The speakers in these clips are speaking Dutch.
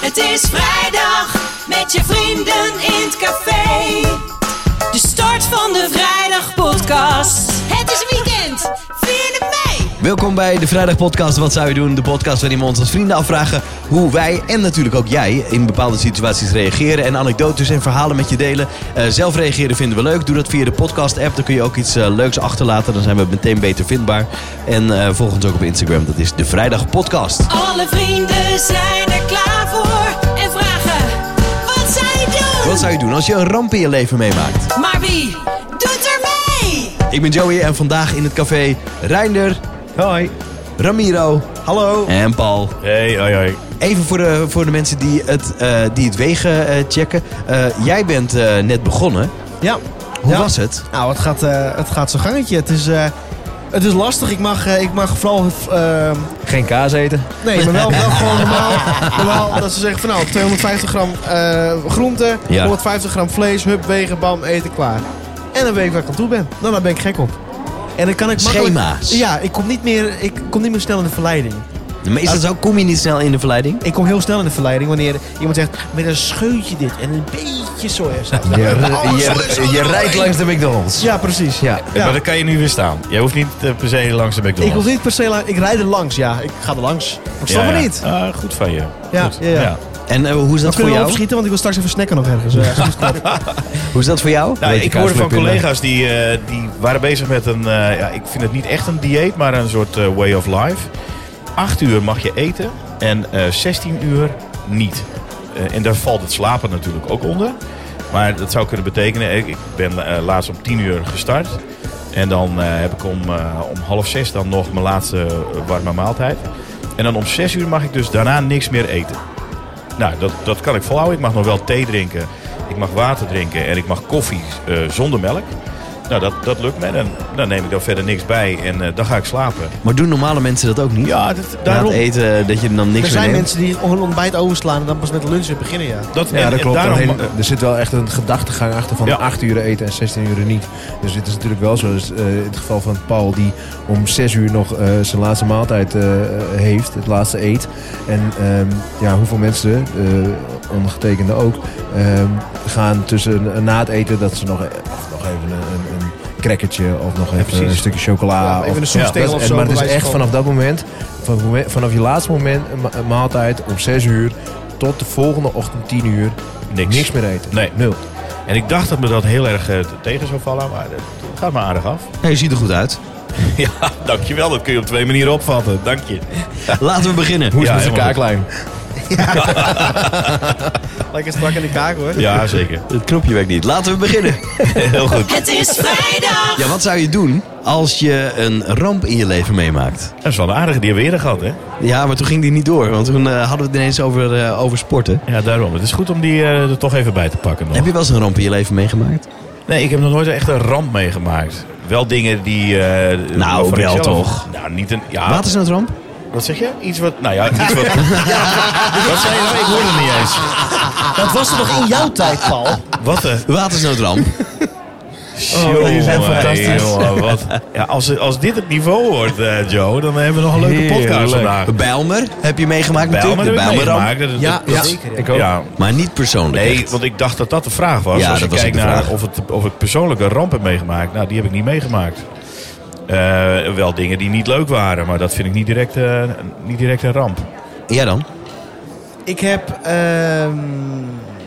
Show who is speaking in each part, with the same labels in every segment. Speaker 1: Het is vrijdag met je vrienden in het café. De start van de vrijdag podcast. Het is weekend, 4 mei.
Speaker 2: Welkom bij de Vrijdag Podcast. Wat zou je doen? De podcast waarin we ons als vrienden afvragen hoe wij en natuurlijk ook jij in bepaalde situaties reageren. En anekdotes en verhalen met je delen. Eh, zelf reageren vinden we leuk. Doe dat via de podcast app. Dan kun je ook iets eh, leuks achterlaten. Dan zijn we meteen beter vindbaar. En eh volg ons ook op Instagram. Dat is de Vrijdag Podcast.
Speaker 1: Alle vrienden zijn er klaar voor en vragen: wat zij doen?
Speaker 2: Wat zou je doen als je een ramp in je leven meemaakt?
Speaker 1: Maar wie doet er mee?
Speaker 2: Ik ben Joey en vandaag in het café Reinder,
Speaker 3: Hoi.
Speaker 2: Ramiro
Speaker 3: Hallo.
Speaker 2: en Paul.
Speaker 3: Hey, hoi, hoi.
Speaker 2: Even voor de, voor de mensen die het, eh, die het wegen eh, checken. Eh, jij bent eh, net begonnen.
Speaker 3: Ja.
Speaker 2: Hoe
Speaker 3: Ja.
Speaker 2: was het?
Speaker 3: Nou, het gaat, eh, het gaat zo'n gangetje. Het is, eh, het is lastig. Ik mag, eh, ik mag vooral... eh,
Speaker 4: Geen kaas eten.
Speaker 3: nee, maar wel, wel gewoon normaal, normaal. Dat ze zeggen van nou, 250 gram eh groente,
Speaker 2: Ja.
Speaker 3: 150 gram vlees, hup, wegen, bam, eten, klaar. En dan weet ik waar ik aan toe ben. Nou, daar ben ik gek op. En dan kan ik makkelijk...
Speaker 2: Schema's.
Speaker 3: Ja, ik kom niet meer, ik kom niet meer snel in de verleiding.
Speaker 2: Maar
Speaker 4: Ah.
Speaker 2: is dat zo? Kom je niet snel in de verleiding?
Speaker 3: Ik kom heel snel in de verleiding wanneer iemand zegt... Met een scheutje dit en een beetje sojasaus.
Speaker 4: Je,
Speaker 5: Oh,
Speaker 4: je, je rijdt langs de McDonald's.
Speaker 3: Ja, precies.
Speaker 4: Ja.
Speaker 3: Ja.
Speaker 5: Maar dan kan je nu weer staan. Jij hoeft niet eh, per se langs de McDonald's.
Speaker 3: Ik wil niet per se lang. Ik rijd er langs, ja. Ik ga er langs. Maar ik
Speaker 5: Ja,
Speaker 3: snap
Speaker 5: ja.
Speaker 3: er niet.
Speaker 5: Ah, goed van je.
Speaker 3: Ja,
Speaker 5: Goed.
Speaker 3: ja, ja.
Speaker 2: En eh, hoe is dat
Speaker 3: Dat
Speaker 2: voor
Speaker 3: kunnen we
Speaker 2: jou?
Speaker 3: opschieten, want ik wil straks even snacken nog ergens. eh, als het goed komt.
Speaker 2: Hoe is dat voor jou?
Speaker 5: Nou,
Speaker 2: Beetje
Speaker 5: ik
Speaker 2: kaas
Speaker 5: hoorde van
Speaker 2: met punten.
Speaker 5: collega's die, eh, die waren bezig met een, eh, ja, ik vind het niet echt een dieet, maar een soort eh, way of life. Acht uur mag je eten en eh 16 uur niet. Eh, en daar valt het slapen natuurlijk ook onder. Maar dat zou kunnen betekenen, ik, ik ben eh, laatst om 10 uur gestart. En dan eh, heb ik om, eh, om half zes dan nog mijn laatste eh, warme maaltijd. En dan om zes uur mag ik dus daarna niks meer eten. Nou, dat, dat kan ik volhouden. Ik mag nog wel thee drinken. Ik mag water drinken. En ik mag koffie eh, zonder melk. Nou, dat, dat lukt me. Dan, dan neem ik dan verder niks bij. En eh, dan ga ik slapen.
Speaker 2: Maar doen normale mensen dat ook niet?
Speaker 5: Ja, dat,
Speaker 2: Na het
Speaker 5: daarom.
Speaker 2: eten eh, dat je dan niks
Speaker 3: Er
Speaker 2: meer
Speaker 3: zijn
Speaker 2: neemt?
Speaker 3: mensen die hun ontbijt overslaan en dan pas met de lunch weer beginnen, ja.
Speaker 5: Dat, en-
Speaker 4: Ja, dat
Speaker 5: en
Speaker 4: klopt.
Speaker 5: daarom-
Speaker 4: Alleen, eh, er zit wel echt een gedachtegang achter van
Speaker 5: Ja.
Speaker 4: 8 uur eten en 16 uur niet. Dus dit is natuurlijk wel zo. Dus, eh, in het geval van Paul die om 6 uur nog eh, zijn laatste maaltijd eh, heeft, het laatste eet. En ehm, ja, hoeveel mensen, eh, ondergetekende ook, ehm, gaan tussen eh, na het eten dat ze nog, eh, of nog even een, een, een crackertje of nog even
Speaker 5: precies.
Speaker 4: een stukje chocola.
Speaker 3: even
Speaker 4: of-
Speaker 3: een soepstengel
Speaker 4: Dat
Speaker 3: of
Speaker 4: is-
Speaker 3: zo.
Speaker 4: maar het
Speaker 3: bij
Speaker 4: is
Speaker 3: wijze
Speaker 4: echt
Speaker 3: van.
Speaker 4: vanaf dat moment, van het moment- vanaf je laatste moment een ma- een maaltijd om 6 uur tot de volgende ochtend 10 uur
Speaker 5: Niks.
Speaker 4: niks, meer eten.
Speaker 5: Nee.
Speaker 4: Nul.
Speaker 5: En ik dacht dat me dat heel erg eh, tegen zou vallen. Maar dat dat gaat me aardig af.
Speaker 2: Ja, je ziet er goed uit.
Speaker 5: ja, dankjewel. Dat kun je op twee manieren opvatten. Dank je.
Speaker 2: Laten we beginnen.
Speaker 4: Hoe is
Speaker 5: Ja,
Speaker 4: het met de
Speaker 5: helemaal goed.
Speaker 4: kaaklijn?
Speaker 3: Lekker strak in de kaak, hoor.
Speaker 5: Ja, zeker.
Speaker 2: Het knopje werkt niet. Laten we beginnen.
Speaker 5: heel goed.
Speaker 1: Het is vrijdag.
Speaker 2: Ja, wat zou je doen als je een ramp in je leven meemaakt?
Speaker 5: Dat is wel een aardige die hebben we eerder gehad, hè?
Speaker 2: Ja, maar toen ging die niet door. Want toen eh, hadden we het ineens over, eh, over sporten.
Speaker 5: Ja, daarom. Het is goed om die eh, er toch even bij te pakken nog.
Speaker 2: Heb je wel eens een ramp in je leven meegemaakt?
Speaker 5: Nee, ik heb nog nooit echt een ramp meegemaakt. Wel dingen die... eh,
Speaker 2: Nou,
Speaker 5: waarvan ik
Speaker 2: wel
Speaker 5: zelf-
Speaker 2: toch?
Speaker 5: Nou, niet een... Ja,
Speaker 2: Wat is een ramp?
Speaker 5: Wat zeg je? Iets wat... Nou ja, iets wat... wat zei je nou? Ik hoorde het niet eens.
Speaker 3: Dat was er nog in jouw tijd, Paul.
Speaker 5: Wat een...
Speaker 2: Watersnoodramp.
Speaker 5: Oh,
Speaker 4: jullie zijn fantastisch.
Speaker 5: wat... Ja, als, als dit het niveau wordt, eh, Joe, dan hebben we nog een leuke podcast
Speaker 4: Heerlijk.
Speaker 5: vandaag.
Speaker 2: Bijlmer heb je meegemaakt
Speaker 5: Bijlmer
Speaker 2: natuurlijk.
Speaker 5: heb
Speaker 2: de
Speaker 5: ik
Speaker 2: Bijlmerramp.
Speaker 5: meegemaakt. Dat-
Speaker 3: Ja,
Speaker 5: dat- dat-
Speaker 3: ja, zeker, ja.
Speaker 5: Ik ook. Ja.
Speaker 2: Maar niet persoonlijk.
Speaker 5: Nee,
Speaker 2: echt.
Speaker 5: want ik dacht dat dat de vraag was.
Speaker 2: Ja,
Speaker 5: Als je
Speaker 2: dat was
Speaker 5: kijkt
Speaker 2: ook de
Speaker 5: naar
Speaker 2: vraag.
Speaker 5: of, het, of ik persoonlijk een ramp heb meegemaakt. Nou, die heb ik niet meegemaakt. Eh, wel dingen die niet leuk waren, maar dat vind ik niet direct, eh, niet direct een ramp.
Speaker 2: Jij dan?
Speaker 3: Ik heb... ehm,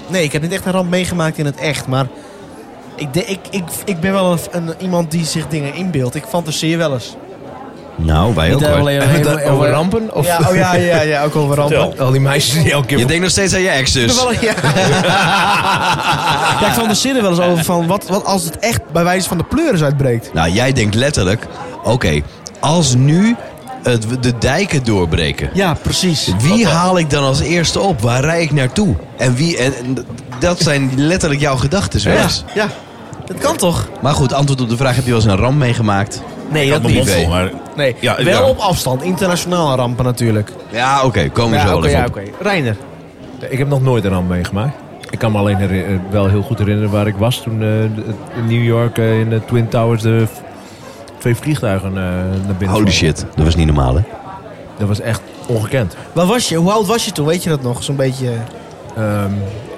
Speaker 3: nee, ik heb niet echt een ramp meegemaakt in het echt, maar... Ik, de- ik, ik, ik ben wel een, een- iemand die zich dingen inbeeldt. Ik fantaseer wel eens.
Speaker 2: Nou, wij ook hoor.
Speaker 4: Hebben we het over rampen? Of
Speaker 3: Ja, oh ja, ja, ja, ook over rampen.
Speaker 5: Vertel.
Speaker 4: al die meisjes die elke keer...
Speaker 2: Je denkt nog steeds aan je ex dus.
Speaker 3: Toevallig, ja. ja, ik fantaseer er wel eens over van wat, wat als het echt bij wijze van de pleuris uitbreekt.
Speaker 2: Nou, jij denkt letterlijk... Oké, als nu het, de dijken doorbreken...
Speaker 3: Ja, precies.
Speaker 2: Wie haal ik dan als eerste op? Waar rij ik naartoe? En wie... En, en dat zijn letterlijk jouw gedachten, wel
Speaker 3: Ja,
Speaker 2: eens.
Speaker 3: ja. Dat kan toch?
Speaker 2: Maar goed, antwoord op de vraag: heb je wel eens een ramp meegemaakt?
Speaker 3: Nee,
Speaker 5: Ik had mijn mond vol, maar...
Speaker 3: Nee,
Speaker 5: Ja,
Speaker 3: wel
Speaker 5: ja.
Speaker 3: op afstand. Internationale rampen natuurlijk.
Speaker 2: Ja, oké, komen we zo
Speaker 3: Ja,
Speaker 2: wel
Speaker 3: oké,
Speaker 2: even
Speaker 3: ja,
Speaker 2: op.
Speaker 3: oké. Reiner.
Speaker 4: Ik heb nog nooit een ramp meegemaakt. Ik kan me alleen herinner- eh, wel heel goed herinneren waar ik was toen eh, de- in New York eh, in de Twin Towers de v- twee vliegtuigen eh, naar binnen
Speaker 2: Holy
Speaker 4: vlogen.
Speaker 2: shit, dat was niet normaal, hè?
Speaker 4: Dat was echt ongekend.
Speaker 3: Waar was je? Hoe oud was je toen? Weet je dat nog? Zo'n beetje
Speaker 4: Ehm,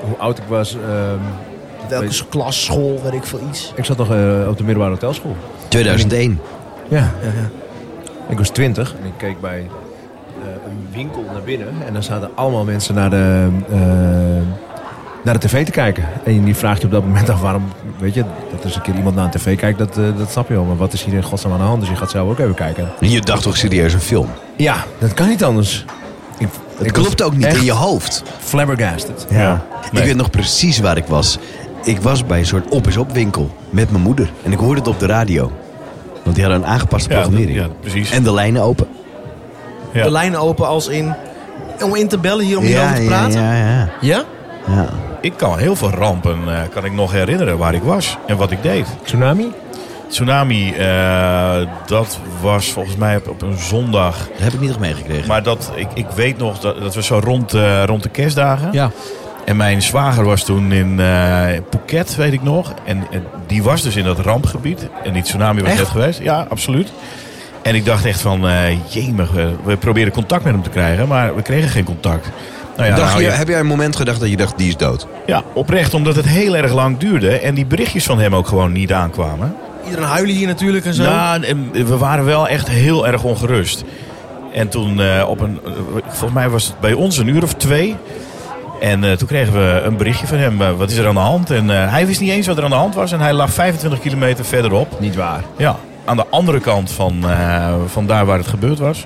Speaker 4: hoe oud ik was, ehm,
Speaker 3: welke
Speaker 4: Weet-
Speaker 3: klas, school, weet ik veel iets.
Speaker 4: ik zat nog eh, op de middelbare hotelschool.
Speaker 2: 2001.
Speaker 4: Ja, ja, ja. Ik was twintig en ik keek bij eh, een winkel naar binnen. En daar zaten allemaal mensen naar de, eh, naar de tv te kijken. En die vraagt je op dat moment af waarom, weet je, dat er eens een keer iemand naar een tv kijkt, dat, eh, dat snap je wel. Maar wat is hier in godsnaam aan de hand? Dus je gaat zelf ook even kijken.
Speaker 2: En je dacht toch serieus een film?
Speaker 4: Ja, dat kan niet anders. Ik,
Speaker 2: Het
Speaker 4: ik
Speaker 2: klopt
Speaker 4: was
Speaker 2: ook niet
Speaker 4: echt
Speaker 2: in je hoofd.
Speaker 4: flabbergasted.
Speaker 5: Ja. Nee.
Speaker 2: Ik weet nog precies waar ik was. Ik was bij een soort op-is-op winkel met mijn moeder. En ik hoorde het op de radio. Want die hadden een aangepaste
Speaker 5: Ja, dat-
Speaker 2: programmering.
Speaker 5: ja, precies.
Speaker 2: En de lijnen open.
Speaker 5: Ja.
Speaker 3: De lijnen open als in... Om in te bellen hier om hierover te
Speaker 2: ja,
Speaker 3: praten?
Speaker 2: ja, ja,
Speaker 3: ja?
Speaker 2: ja.
Speaker 5: Ik kan heel veel rampen eh, kan ik nog herinneren waar ik was en wat ik deed.
Speaker 4: Tsunami?
Speaker 5: Tsunami, eh, dat was volgens mij op, op een zondag.
Speaker 2: Dat heb ik niet nog meegekregen.
Speaker 5: Maar dat, ik, ik weet nog, dat, dat was zo rond, eh, rond de kerstdagen.
Speaker 4: Ja.
Speaker 5: En mijn zwager was toen in eh Phuket, weet ik nog. En, en die was dus in dat rampgebied. En die tsunami was
Speaker 3: Echt?
Speaker 5: net geweest. Ja, absoluut. En ik dacht echt van, eh jemig, eh, we proberen contact met hem te krijgen. Maar we kregen geen contact. Nou ja, dan
Speaker 2: Dacht
Speaker 5: hou
Speaker 2: je,
Speaker 5: je-
Speaker 2: Heb jij een moment gedacht dat je dacht, die is dood?
Speaker 5: ja, oprecht, omdat het heel erg lang duurde. En die berichtjes van hem ook gewoon niet aankwamen.
Speaker 3: Iedereen huilen hier natuurlijk en zo.
Speaker 5: Nou, en we waren wel echt heel erg ongerust. En toen eh, op een, eh, volgens mij was het bij ons een uur of twee. En eh, toen kregen we een berichtje van hem, eh, wat is er aan de hand? En eh, hij wist niet eens wat er aan de hand was en hij lag 25 kilometer verderop.
Speaker 4: Niet waar.
Speaker 5: Ja, aan de andere kant van, eh, van daar waar het gebeurd was.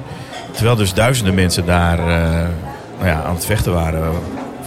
Speaker 5: Terwijl dus duizenden mensen daar eh, nou ja, aan het vechten waren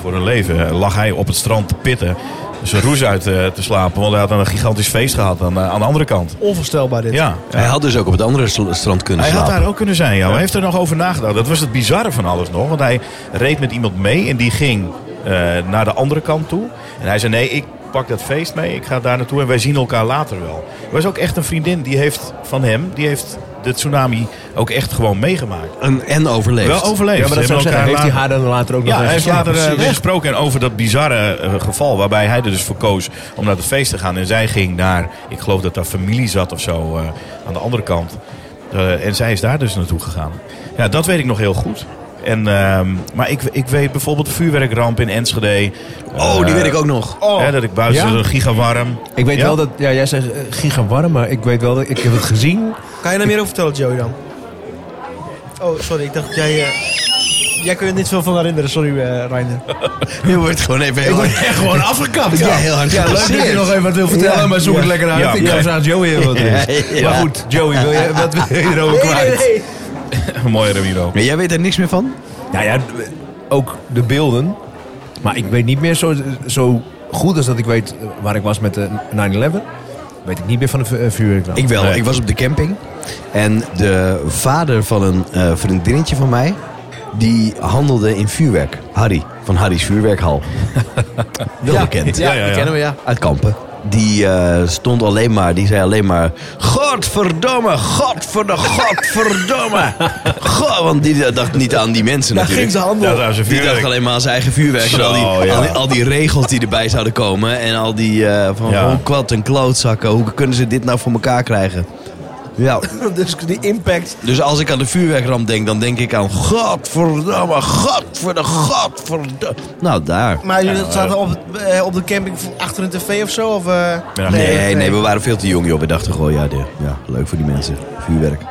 Speaker 5: voor hun leven. Lag hij op het strand te pitten, zijn roes uit eh, te slapen. Want hij had een gigantisch feest gehad aan, eh, aan de andere kant.
Speaker 3: Onvoorstelbaar dit.
Speaker 5: Ja,
Speaker 2: Hij had dus ook op het andere sl- strand kunnen
Speaker 5: hij had
Speaker 2: slapen.
Speaker 5: daar ook kunnen zijn, ja. Hij heeft er nog over nagedacht. Dat was het bizarre van alles nog. Want hij reed met iemand mee en die ging eh, naar de andere kant toe. En hij zei, nee, ik pak dat feest mee. Ik ga daar naartoe en wij zien elkaar later wel. Er was ook echt een vriendin die heeft van hem, die heeft de tsunami ook echt gewoon meegemaakt.
Speaker 2: En, en overleefd.
Speaker 5: Wel overleefd.
Speaker 4: Ja, maar
Speaker 5: Ze
Speaker 4: dat zou ik
Speaker 5: hebben
Speaker 4: zeggen, heeft hij
Speaker 5: later-
Speaker 4: haar dan later ook nog
Speaker 5: ja, hij
Speaker 4: eens
Speaker 5: heeft later eh,
Speaker 4: precies.
Speaker 5: weer gesproken over dat bizarre eh, geval. Waarbij hij er dus voor koos om naar het feest te gaan. En zij ging naar, ik geloof dat daar familie zat of zo, eh, aan de andere kant. Eh, en zij is daar dus naartoe gegaan. Ja, dat weet ik nog heel goed. En, ehm, maar ik, ik weet bijvoorbeeld vuurwerkramp in Enschede.
Speaker 2: Oh, die
Speaker 5: Eh,
Speaker 2: weet ik ook nog.
Speaker 5: Hè, dat ik buiten
Speaker 4: Ja?
Speaker 5: een gigawarm.
Speaker 4: Ik weet
Speaker 5: Ja?
Speaker 4: wel dat, ja, jij zegt eh, giga warm, maar ik weet wel dat ik heb het gezien.
Speaker 3: Kan je daar meer over vertellen, Joey dan? Oh, sorry. Ik dacht dat jij... eh, Jij kunt er niet veel van herinneren. Sorry, eh Reiner.
Speaker 2: Je wordt gewoon even heel hard,
Speaker 4: echt gewoon afgekapt.
Speaker 2: ja, heel hard gepasseerd.
Speaker 4: even wat wil vertellen, maar zoek het lekker uit.
Speaker 5: Ja.
Speaker 4: ik ga eens aan Joey heel wat
Speaker 2: Ja,
Speaker 4: is.
Speaker 2: ja.
Speaker 4: Maar goed, Joey, wil je, wat wil je erover kwijt?
Speaker 5: Mooi Ramiro.
Speaker 2: Maar jij weet er niks meer van?
Speaker 4: Nou ja, ook de beelden. Maar ik weet niet meer zo, zo goed als dat ik weet eh, waar ik was met de 9-11. Weet ik niet meer van de vu- eh, vuurwerk.
Speaker 2: Ik wel.
Speaker 5: Nee.
Speaker 2: Ik was op de camping. En de vader van een eh, vriendinnetje van mij... die handelde in vuurwerk. Harry. Van Harry's Vuurwerkhal. wel bekend.
Speaker 5: Ja, ja, ja.
Speaker 3: kennen we, ja.
Speaker 2: Uit Kampen. Die eh, stond alleen maar... Die zei alleen maar... Godverdomme! Godverdomme! Godverdomme! God, want die dacht niet aan die mensen
Speaker 3: Daar
Speaker 2: natuurlijk.
Speaker 3: ging ze handel.
Speaker 5: Ja, daar is een
Speaker 2: Die dacht
Speaker 5: vuurwerk.
Speaker 2: alleen maar aan zijn eigen vuurwerk. en al, die,
Speaker 5: Zo, ja.
Speaker 2: al, die, al die regels die erbij zouden komen. En al die eh, van
Speaker 5: Ja.
Speaker 2: oh, kwad en klootzakken. Hoe kunnen ze dit nou voor elkaar krijgen? Ja,
Speaker 3: dus die impact.
Speaker 2: dus als ik aan de vuurwerkramp denk, dan denk ik aan... Godverdamme, godverdamme, godverdamme. Nou, daar.
Speaker 3: Maar jullie zaten op, het- eh, op de camping achter een tv of zo? Of, eh?
Speaker 5: Ja,
Speaker 2: Nee, nee, we waren veel te jong, joh. We dachten gewoon, ja, de, ja leuk voor die mensen. Vuurwerk.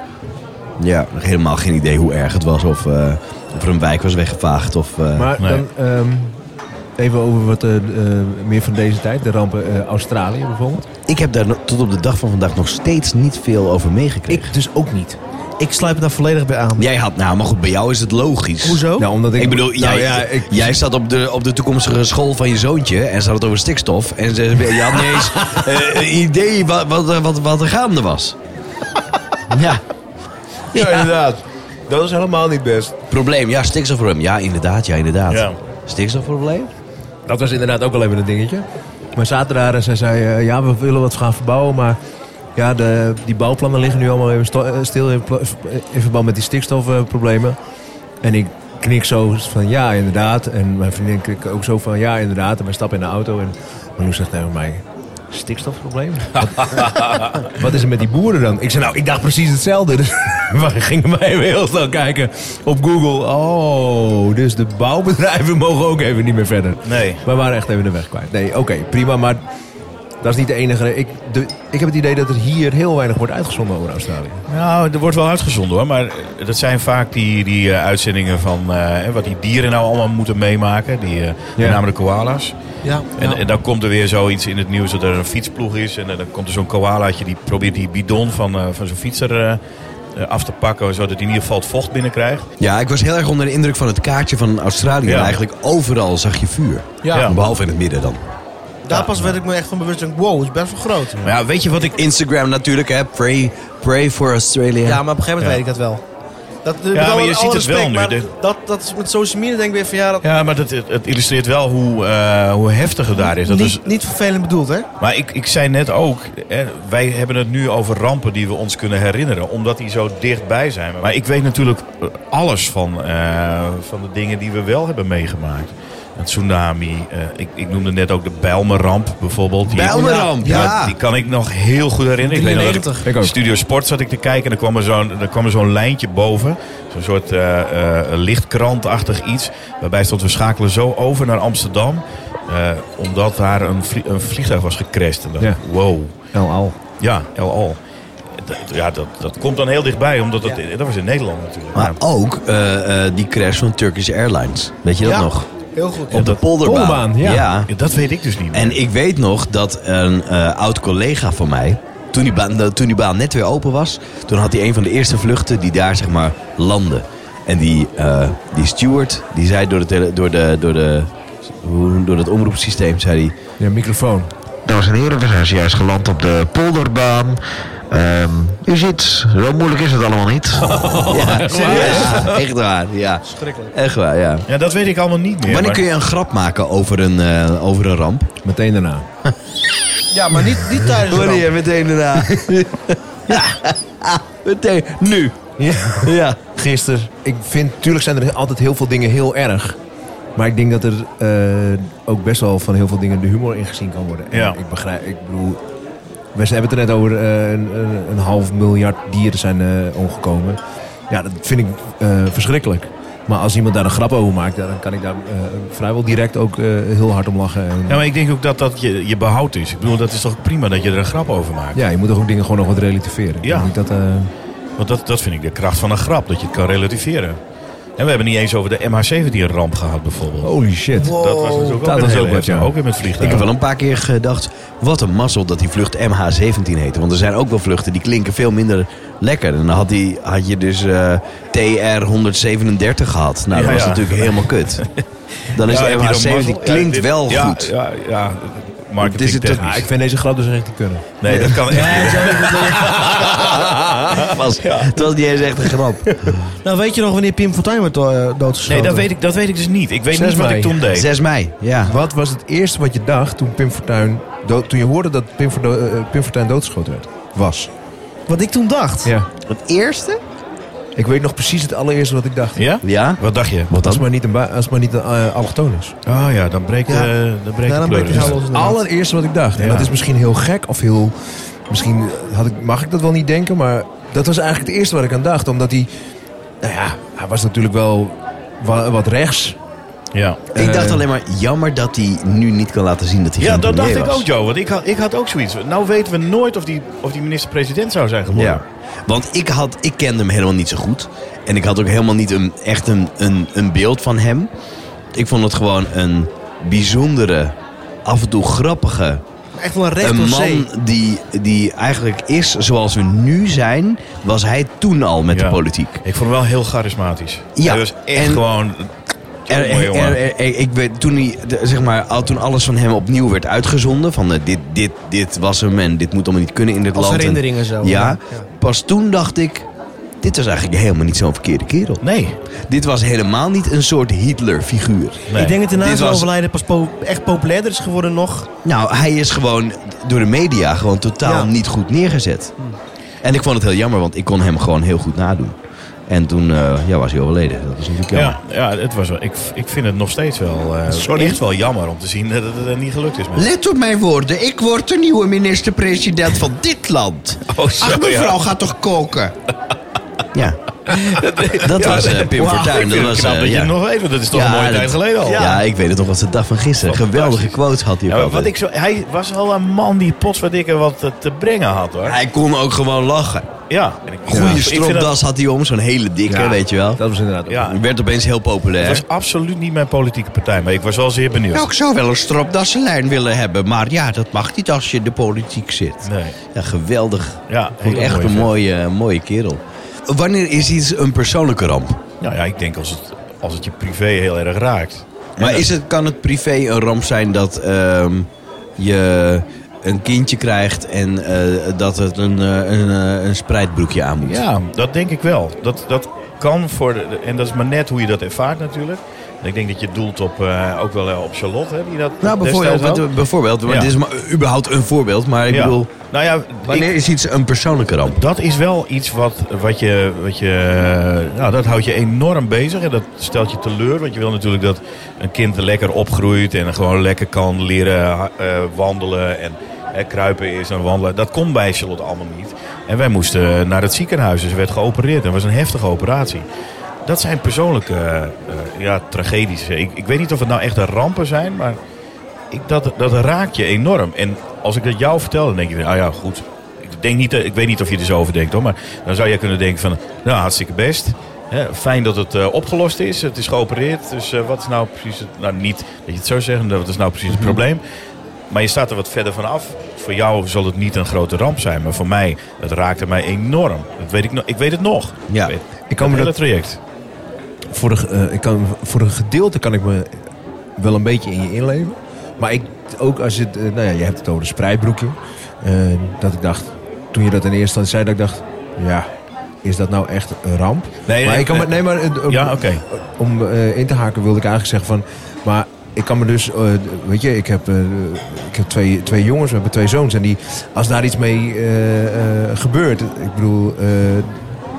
Speaker 2: Ja, helemaal geen idee hoe erg het was. Of, eh, of er een wijk was weggevaagd. Of, eh,
Speaker 4: Maar
Speaker 5: Nee.
Speaker 4: dan ehm, even over wat eh, eh, meer van deze tijd. De rampen eh, Australië bijvoorbeeld.
Speaker 2: Ik heb daar no- tot op de dag van vandaag nog steeds niet veel over meegekregen.
Speaker 4: Ik dus ook niet.
Speaker 3: Ik sluit me daar volledig bij aan.
Speaker 2: Jij had, nou, maar goed, bij jou is het logisch.
Speaker 3: Hoezo?
Speaker 4: Nou, omdat ik,
Speaker 2: Ik bedoel,
Speaker 4: nou
Speaker 2: jij,
Speaker 4: ja, ik,
Speaker 2: jij zat op de, op de toekomstige school van je zoontje en ze had het over stikstof. En ze, je had niet eens eh, een idee wat, wat, wat, wat er gaande was. Ja,
Speaker 4: ja, inderdaad. Dat is helemaal niet best.
Speaker 2: probleem. Ja, stikstofprobleem. Ja, inderdaad. Ja, inderdaad.
Speaker 5: Ja.
Speaker 2: Stikstofprobleem?
Speaker 4: Dat was inderdaad ook al even een dingetje. Maar zaten daar en zij zei, eh, ja, we willen wat gaan verbouwen, maar... Ja, de, die bouwplannen liggen nu allemaal even sto- eh, stil in, pla- in verband met die stikstofproblemen. En ik knik zo van, ja, inderdaad. En mijn vriendin knikt ook zo van, ja, inderdaad. En wij stappen in de auto en Marloes zegt tegen mij... Stikstofprobleem? Wat, wat is er met die boeren dan? Ik zei, nou, ik dacht precies hetzelfde. Dus we gingen wij weer heel snel kijken op Google. Oh, dus de bouwbedrijven mogen ook even niet meer verder.
Speaker 5: Nee.
Speaker 4: We waren echt even de weg kwijt. Nee, oké, prima, maar dat is niet de enige. re- Ik, de, ik heb het idee dat er hier heel weinig wordt uitgezonden over Australië.
Speaker 5: Nou, er wordt wel uitgezonden hoor. Maar eh, dat zijn vaak die, die eh, uitzendingen van eh, wat die dieren nou allemaal moeten meemaken. Die, eh, Met name de koala's.
Speaker 3: Ja,
Speaker 5: En,
Speaker 3: ja.
Speaker 5: en dan komt er weer zoiets in het nieuws dat er een fietsploeg is. En eh, dan komt er zo'n koalaatje die probeert die bidon van, eh, van zo'n fietser eh, eh, af te pakken. Zodat hij in ieder geval het vocht binnenkrijgt.
Speaker 2: Ja, ik was heel erg onder de indruk van het kaartje van Australië.
Speaker 5: Ja.
Speaker 2: Eigenlijk overal zag je vuur.
Speaker 3: Ja.
Speaker 5: Ja.
Speaker 2: Behalve in het midden dan.
Speaker 3: daar pas werd ik me echt van bewust. Ik denk, Wow, het is best wel groot.
Speaker 5: Maar ja, weet je wat ik...
Speaker 2: Instagram natuurlijk, hè. Pray, pray for Australia.
Speaker 3: Ja, maar op een gegeven moment
Speaker 5: Ja.
Speaker 3: weet ik dat wel. Dat, ja,
Speaker 5: maar je ziet het wel nu, de-
Speaker 3: Dat, dat is met social media denk ik weer van ja, dat,
Speaker 5: Ja, maar dat, het, het illustreert wel hoe, eh, hoe heftig het daar is. Dat
Speaker 3: niet,
Speaker 5: is
Speaker 3: niet vervelend bedoeld hè.
Speaker 5: Maar ik, ik zei net ook, hè, wij hebben het nu over rampen die we ons kunnen herinneren, omdat die zo dichtbij zijn. Maar ik weet natuurlijk eh, alles van, eh, van de dingen die we wel hebben meegemaakt. Een tsunami, eh, ik, ik noemde net ook de Bijlmerramp bijvoorbeeld. Die-
Speaker 2: Bijlmerramp, ja.
Speaker 5: Die kan ik nog heel goed herinneren. Ik weet nog dat
Speaker 3: 93.
Speaker 5: ik
Speaker 4: Ik ook.
Speaker 5: Studio Sport zat ik te kijken en er kwam er zo'n, er kwam er zo'n lijntje boven. Zo'n soort eh, eh, lichtkrantachtig iets. Waarbij stond we schakelen zo over naar Amsterdam. eh, omdat daar een, vlie- een vliegtuig was gecrashed. En dan,
Speaker 4: Ja.
Speaker 5: Wow.
Speaker 4: El al.
Speaker 5: Ja, El Al. Dat- Ja, dat, dat komt dan heel dichtbij, omdat dat, dat was in Nederland natuurlijk.
Speaker 2: Maar
Speaker 5: Ja.
Speaker 2: ook eh, eh, die crash van Turkish Airlines. Weet je dat
Speaker 3: Ja.
Speaker 2: nog?
Speaker 3: Heel goed.
Speaker 2: Op de
Speaker 5: dat-
Speaker 2: polderbaan.
Speaker 4: Polderbaan, ja.
Speaker 5: Ja, dat weet ik dus niet. meer.
Speaker 2: En ik weet nog dat een eh, oud collega van mij, toen die, baan, eh, toen die baan net weer open was, toen had hij een van de eerste vluchten die daar zeg maar landde. En die, eh, die steward, die zei door, de tele- door, de, door, de, hoe- door het omroepsysteem, zei hij...
Speaker 4: Ja, microfoon.
Speaker 6: Dames en heren, we zijn zojuist geland op de polderbaan. Ehm, u ziet, zo moeilijk is het allemaal niet.
Speaker 3: Oh,
Speaker 2: ja, serieus? Ja, echt waar, ja.
Speaker 3: Schrikkelijk.
Speaker 2: Echt waar, ja.
Speaker 5: ja, dat weet ik allemaal niet meer.
Speaker 2: Wanneer
Speaker 5: maar-
Speaker 2: kun je een grap maken over een, eh, over een ramp?
Speaker 4: Meteen daarna.
Speaker 3: Ja, maar niet, niet tijdens de ramp.
Speaker 2: meteen daarna. meteen, nu.
Speaker 4: Ja.
Speaker 2: Ja.
Speaker 4: Gisteren. Ik vind, tuurlijk zijn er altijd heel veel dingen heel erg. Maar ik denk dat er eh, ook best wel van heel veel dingen de humor in gezien kan worden. En
Speaker 5: Ja.
Speaker 4: Ik begrijp, ik bedoel... We hebben het er net over eh, een, een, een half miljard dieren zijn eh, omgekomen. Ja, dat vind ik eh, verschrikkelijk. Maar als iemand daar een grap over maakt, ja, dan kan ik daar eh, vrijwel direct ook eh, heel hard om lachen. En,
Speaker 5: Ja, maar ik denk ook dat dat je, je behoud is. Ik bedoel, dat is toch prima dat je er een grap over maakt.
Speaker 4: ja, je moet toch ook dingen gewoon nog wat relativeren.
Speaker 5: Ja.
Speaker 4: Ik denk dat, eh,
Speaker 5: Want dat, dat vind ik de kracht van een grap, dat je het kan relativeren. En we hebben niet eens over de MH17-ramp gehad bijvoorbeeld.
Speaker 2: Oh.
Speaker 4: holy shit.
Speaker 5: Dat was natuurlijk ook,
Speaker 4: Dat
Speaker 5: een
Speaker 4: was
Speaker 5: hele
Speaker 4: ook wat, ja.
Speaker 5: heftige, ook weer met vliegtuigen.
Speaker 2: Ik heb wel een paar keer gedacht, wat een mazzel dat die vlucht MH17 heette. Want er zijn ook wel vluchten die klinken veel minder lekker. En dan had, die, had je dus eh, TR-137 gehad. Nou, dat
Speaker 5: Ja,
Speaker 2: was
Speaker 5: ja.
Speaker 2: natuurlijk helemaal kut. Dan is
Speaker 5: Ja, heb je
Speaker 2: de
Speaker 5: dan
Speaker 2: MH17,
Speaker 5: mazzel? Ja,
Speaker 2: klinkt
Speaker 5: dit-
Speaker 2: wel
Speaker 5: ja,
Speaker 2: goed.
Speaker 5: Ja, ja,
Speaker 2: Dit is
Speaker 5: marketing
Speaker 2: het-
Speaker 5: technisch.
Speaker 4: Ah, ik vind deze grap dus echt niet kunnen.
Speaker 5: Nee, dat kan echt niet.
Speaker 2: Het was, het was niet eens echt een grap.
Speaker 3: Nou, weet je nog wanneer Pim Fortuyn werd eh, doodgeschoten?
Speaker 5: Nee, dat weet ik, dat weet ik dus niet. Ik weet
Speaker 4: Zes
Speaker 5: niet wat
Speaker 4: mei.
Speaker 5: ik toen deed.
Speaker 2: 6 mei, ja.
Speaker 4: Wat was het eerste wat je dacht toen Pim Fortuyn... dood- toen je hoorde dat Pim, Fordo- eh, Pim Fortuyn doodgeschoten werd? Was.
Speaker 3: Wat ik toen dacht.
Speaker 4: Ja.
Speaker 2: Het eerste?
Speaker 4: Ik weet nog precies het allereerste wat ik dacht.
Speaker 5: Ja?
Speaker 2: Ja.
Speaker 5: Wat dacht je?
Speaker 4: Als het maar niet een, ba- als het maar niet een eh, allochtoon is.
Speaker 5: Oh ja, dan breekt
Speaker 3: Ja.
Speaker 5: de, dan breekt
Speaker 3: Ja,
Speaker 5: de
Speaker 3: dan
Speaker 5: kleur
Speaker 3: breekt
Speaker 5: dus.
Speaker 3: hij wel los.
Speaker 4: Het allereerste wat ik dacht. En
Speaker 5: Ja.
Speaker 4: dat is misschien heel gek of heel... Misschien had ik, mag ik dat wel niet denken, maar dat was eigenlijk het eerste wat ik aan dacht. Omdat hij... Nou ja, hij was natuurlijk wel wa- wat rechts.
Speaker 5: Ja.
Speaker 2: Ik dacht
Speaker 4: Eh.
Speaker 2: alleen maar, jammer dat hij nu niet kan laten zien dat hij
Speaker 5: Ja,
Speaker 2: geen
Speaker 5: dat
Speaker 2: premier
Speaker 5: dacht ik
Speaker 2: was.
Speaker 5: ook, Joe. Want ik had, ik had ook zoiets. Nou weten we nooit of die, of die minister-president zou zijn geworden.
Speaker 2: Ja. Want ik, had, ik kende hem helemaal niet zo goed. En ik had ook helemaal niet een, echt een, een, een beeld van hem. Ik vond het gewoon een bijzondere, af en toe grappige.
Speaker 3: Echt wel een recht
Speaker 2: Een
Speaker 3: door zee.
Speaker 2: man die, die eigenlijk is zoals we nu zijn, was hij toen al met de
Speaker 5: Ja.
Speaker 2: politiek.
Speaker 5: Ik vond hem wel heel charismatisch.
Speaker 2: Ja,
Speaker 5: Hij was echt
Speaker 2: en-
Speaker 5: gewoon...
Speaker 2: Er,
Speaker 5: Jongen,
Speaker 2: er,
Speaker 5: jongen.
Speaker 2: er- er- ik weet, toen, hij, de- zeg maar, al, toen alles van hem opnieuw werd uitgezonden, van eh, dit, dit, dit was hem en dit moet allemaal niet kunnen in dit
Speaker 3: Als
Speaker 2: land. en-
Speaker 3: herinneringen zo.
Speaker 2: Ja, pas toen dacht ik, dit was eigenlijk helemaal niet zo'n verkeerde kerel.
Speaker 5: Nee.
Speaker 2: Dit was helemaal niet een soort Hitler-figuur.
Speaker 5: nee.
Speaker 3: Ik denk dat daarna
Speaker 2: Dit
Speaker 3: zijn
Speaker 2: was-
Speaker 3: overlijden pas po- echt populairder is geworden nog.
Speaker 2: Nou, hij is gewoon door de media gewoon totaal
Speaker 3: Ja.
Speaker 2: niet goed neergezet. En ik vond het heel jammer, want ik kon hem gewoon heel goed nadoen. En toen eh, ja, was hij overleden. Dat is natuurlijk jammer.
Speaker 5: Ja, ja het was wel, ik, ik vind het nog steeds wel eh, echt wel jammer om te zien dat het eh, niet gelukt is. Met.
Speaker 7: Let op mijn woorden, ik word de nieuwe minister-president van dit land.
Speaker 5: Oh, zo,
Speaker 7: Ach, mevrouw
Speaker 5: ja.
Speaker 7: gaat toch koken?
Speaker 2: Ja. Dat was eh, Pim Fortuyn. Dat was,
Speaker 5: Knap
Speaker 2: eh,
Speaker 5: dat je
Speaker 2: ja.
Speaker 5: het nog weet, want dat is toch een mooie
Speaker 2: dat-
Speaker 5: tijd geleden al.
Speaker 2: Ja. ik weet het nog. was de dag van gisteren. Geweldige quotes had hij
Speaker 5: Ja,
Speaker 2: ook
Speaker 5: maar wat
Speaker 2: altijd.
Speaker 5: ik zo, hij was wel een man die potverdikke wat te, te brengen had hoor.
Speaker 2: Hij kon ook gewoon lachen.
Speaker 5: Ja. En ik-
Speaker 2: Goeie
Speaker 5: ik vind
Speaker 2: stropdas
Speaker 5: dat-
Speaker 2: had hij om. Zo'n hele dikke, weet je wel.
Speaker 4: Dat was inderdaad...
Speaker 5: Ja,
Speaker 2: Hij werd opeens heel populair.
Speaker 5: het was absoluut niet mijn politieke partij, maar ik was wel zeer benieuwd.
Speaker 7: Nou, ik zou wel een stropdassenlijn willen hebben, maar ja, dat mag niet als je in de politiek zit.
Speaker 5: Nee.
Speaker 2: Ja, geweldig.
Speaker 5: Ja,
Speaker 2: Vond ik
Speaker 5: heel
Speaker 2: echt
Speaker 5: mooi
Speaker 2: een
Speaker 5: vent.
Speaker 2: mooie, mooie kerel. Wanneer is iets een persoonlijke ramp?
Speaker 5: Nou ja, ik denk als het, als het je privé heel erg raakt.
Speaker 2: Maar is het, kan het privé een ramp zijn dat ehm, je een kindje krijgt en eh, dat het een, eh, een, eh, een spreidbroekje aan moet?
Speaker 5: Ja, dat denk ik wel. Dat, dat kan voor de, en dat is maar net hoe je dat ervaart natuurlijk. En ik denk dat je doelt op, eh, ook wel eh, op Charlotte, hè, die dat
Speaker 2: Nou, bijvoorbeeld,
Speaker 5: destijds had.
Speaker 2: want, eh, bijvoorbeeld maar
Speaker 5: Ja.
Speaker 2: dit is maar überhaupt een voorbeeld, maar ik
Speaker 5: Ja.
Speaker 2: bedoel,
Speaker 5: nou ja,
Speaker 2: wanneer
Speaker 5: ik-
Speaker 2: is iets een persoonlijke ramp?
Speaker 5: dat is wel iets wat, wat je, wat je eh, nou, dat houdt je enorm bezig en dat stelt je teleur. Want je wil natuurlijk dat een kind lekker opgroeit en gewoon lekker kan leren eh, wandelen en eh, kruipen is en wandelen. Dat kon bij Charlotte allemaal niet. En wij moesten naar het ziekenhuis, dus ze werd geopereerd en het was een heftige operatie. Dat zijn persoonlijke eh, eh, ja, tragedies. Ik, ik weet niet of het nou echt de rampen zijn, maar ik, dat, dat raakt je enorm. En als ik dat jou vertel, dan denk je, ah ja, goed. Ik, denk niet, dat- ik weet niet of je er zo over denkt hoor, maar dan zou jij kunnen denken van, nou hartstikke best. Hè, fijn dat het eh, opgelost is, het is geopereerd. Dus eh, wat is nou precies, het, nou niet dat je het zo zegt, maar wat is nou precies het
Speaker 4: Mhm.
Speaker 5: probleem? Maar je staat er wat verder van af. Voor jou zal het niet een grote ramp zijn, maar voor mij, het raakte mij enorm. Dat weet ik, no- ik weet het nog.
Speaker 2: Ja.
Speaker 5: Ik, weet,
Speaker 4: Ik kan me
Speaker 5: het hele
Speaker 4: dat-
Speaker 5: traject.
Speaker 4: voor, een, eh, ik kan, voor een gedeelte kan ik me wel een beetje in je inleven. Maar ik, ook als het, eh, nou ja, je hebt het over een spreidbroekje. Eh, dat ik dacht, toen je dat in eerste instantie zei, dat ik dacht, ja, is dat nou echt een ramp?
Speaker 5: Nee,
Speaker 4: maar
Speaker 5: nee,
Speaker 4: ik kan me, nee, maar eh, het- om,
Speaker 5: Ja, oké.
Speaker 4: om eh, in te haken wilde ik eigenlijk zeggen van, maar ik kan me dus, eh, weet je, ik heb, eh, ik heb twee, twee jongens, we hebben twee zoons en die, als daar iets mee eh, eh, gebeurt, ik bedoel, eh,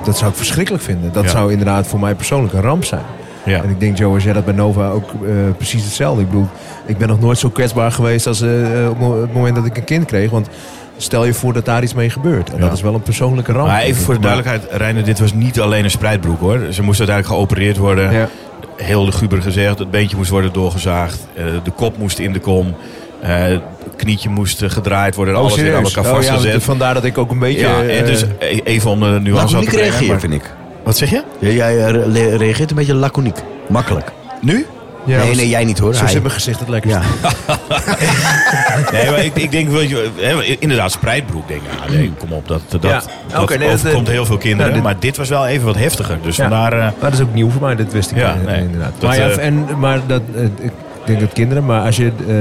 Speaker 4: dat zou ik verschrikkelijk vinden. Dat
Speaker 5: Ja.
Speaker 4: zou inderdaad voor mij persoonlijk een ramp zijn.
Speaker 5: Ja.
Speaker 4: En ik denk, Joe, als jij dat bij Nova ook eh, precies hetzelfde. Ik bedoel, ik ben nog nooit zo kwetsbaar geweest als eh, eh, op mo- het moment dat ik een kind kreeg. Want stel je voor dat daar iets mee gebeurt. En
Speaker 5: Ja.
Speaker 4: dat is wel een persoonlijke ramp.
Speaker 5: Maar even voor de duidelijkheid, Reiner, dit was niet alleen een spreidbroek hoor. Ze moest uiteindelijk geopereerd worden.
Speaker 4: Ja.
Speaker 5: Heel luguber gezegd, het beentje moest worden doorgezaagd. eh, de kop moest in de kom. eh, het knietje moest eh, gedraaid worden. en alles weer aan elkaar
Speaker 4: Oh, ja,
Speaker 5: vastgezet.
Speaker 4: want vandaar dat ik ook een beetje...
Speaker 5: Ja, en
Speaker 4: eh,
Speaker 5: dus e- even om de nuance aan
Speaker 2: Laconiek
Speaker 5: te brengen.
Speaker 2: reageren,
Speaker 5: maar-
Speaker 2: vind ik.
Speaker 5: Wat zeg je?
Speaker 2: Ja, jij eh, re- reageert een beetje laconiek. Makkelijk. Nu?
Speaker 4: ja,
Speaker 2: nee,
Speaker 4: want
Speaker 2: nee, jij niet hoor.
Speaker 4: Zo
Speaker 2: Hij.
Speaker 4: zit mijn gezicht het lekkerst.
Speaker 2: Ja.
Speaker 5: Nee, maar ik, ik denk, wel je, hè, inderdaad, spreidbroek. Denk, ik, ah, nee, kom op, dat, dat,
Speaker 4: Ja.
Speaker 5: dat
Speaker 4: Oké, nee, dat,
Speaker 5: overkomt
Speaker 4: eh,
Speaker 5: heel veel kinderen.
Speaker 4: ja, dit-
Speaker 5: maar dit was wel even wat heftiger. Dus
Speaker 4: Ja.
Speaker 5: vandaar... eh,
Speaker 4: Maar dat is ook nieuw voor mij, dat wist ik
Speaker 5: Ja,
Speaker 4: eh,
Speaker 5: nee.
Speaker 4: inderdaad.
Speaker 5: Dat,
Speaker 4: maar ja,
Speaker 5: eh,
Speaker 4: en, maar dat, eh, ik denk dat kinderen, maar als je, eh,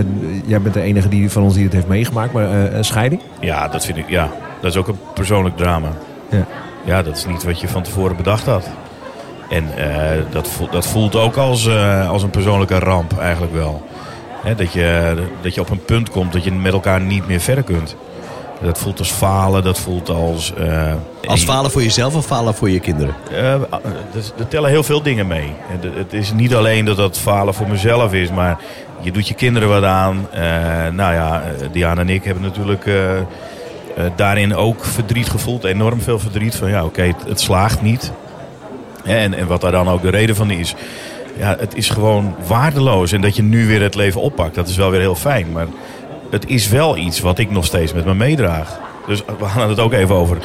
Speaker 4: jij bent de enige die, van ons die het heeft meegemaakt, maar eh, een scheiding.
Speaker 3: Oh,
Speaker 5: Ja, dat vind ik. Ja, dat is ook een persoonlijk drama.
Speaker 4: Ja.
Speaker 5: Ja, dat is niet wat je van tevoren bedacht had. En eh, dat, voelt, dat voelt ook als, eh, als een persoonlijke ramp eigenlijk wel. Hè, dat, je, dat je op een punt komt dat je met elkaar niet meer verder kunt. Dat voelt als falen, dat voelt als... eh,
Speaker 2: Als falen voor jezelf of falen voor je kinderen?
Speaker 5: eh, eh, dus er tellen heel veel dingen mee. En de- Het is niet alleen dat dat falen voor mezelf is, maar je doet je kinderen wat aan. Eh, nou ja, eh, Diana en ik hebben natuurlijk eh, eh, daarin ook verdriet gevoeld. Enorm veel verdriet van ja, oké, het, het slaagt niet. En, en wat daar dan ook de reden van is. Ja, het is gewoon waardeloos. En dat je nu weer het leven oppakt, dat is wel weer heel fijn. Maar het is wel iets wat ik nog steeds met me meedraag. Dus we hadden het ook even over.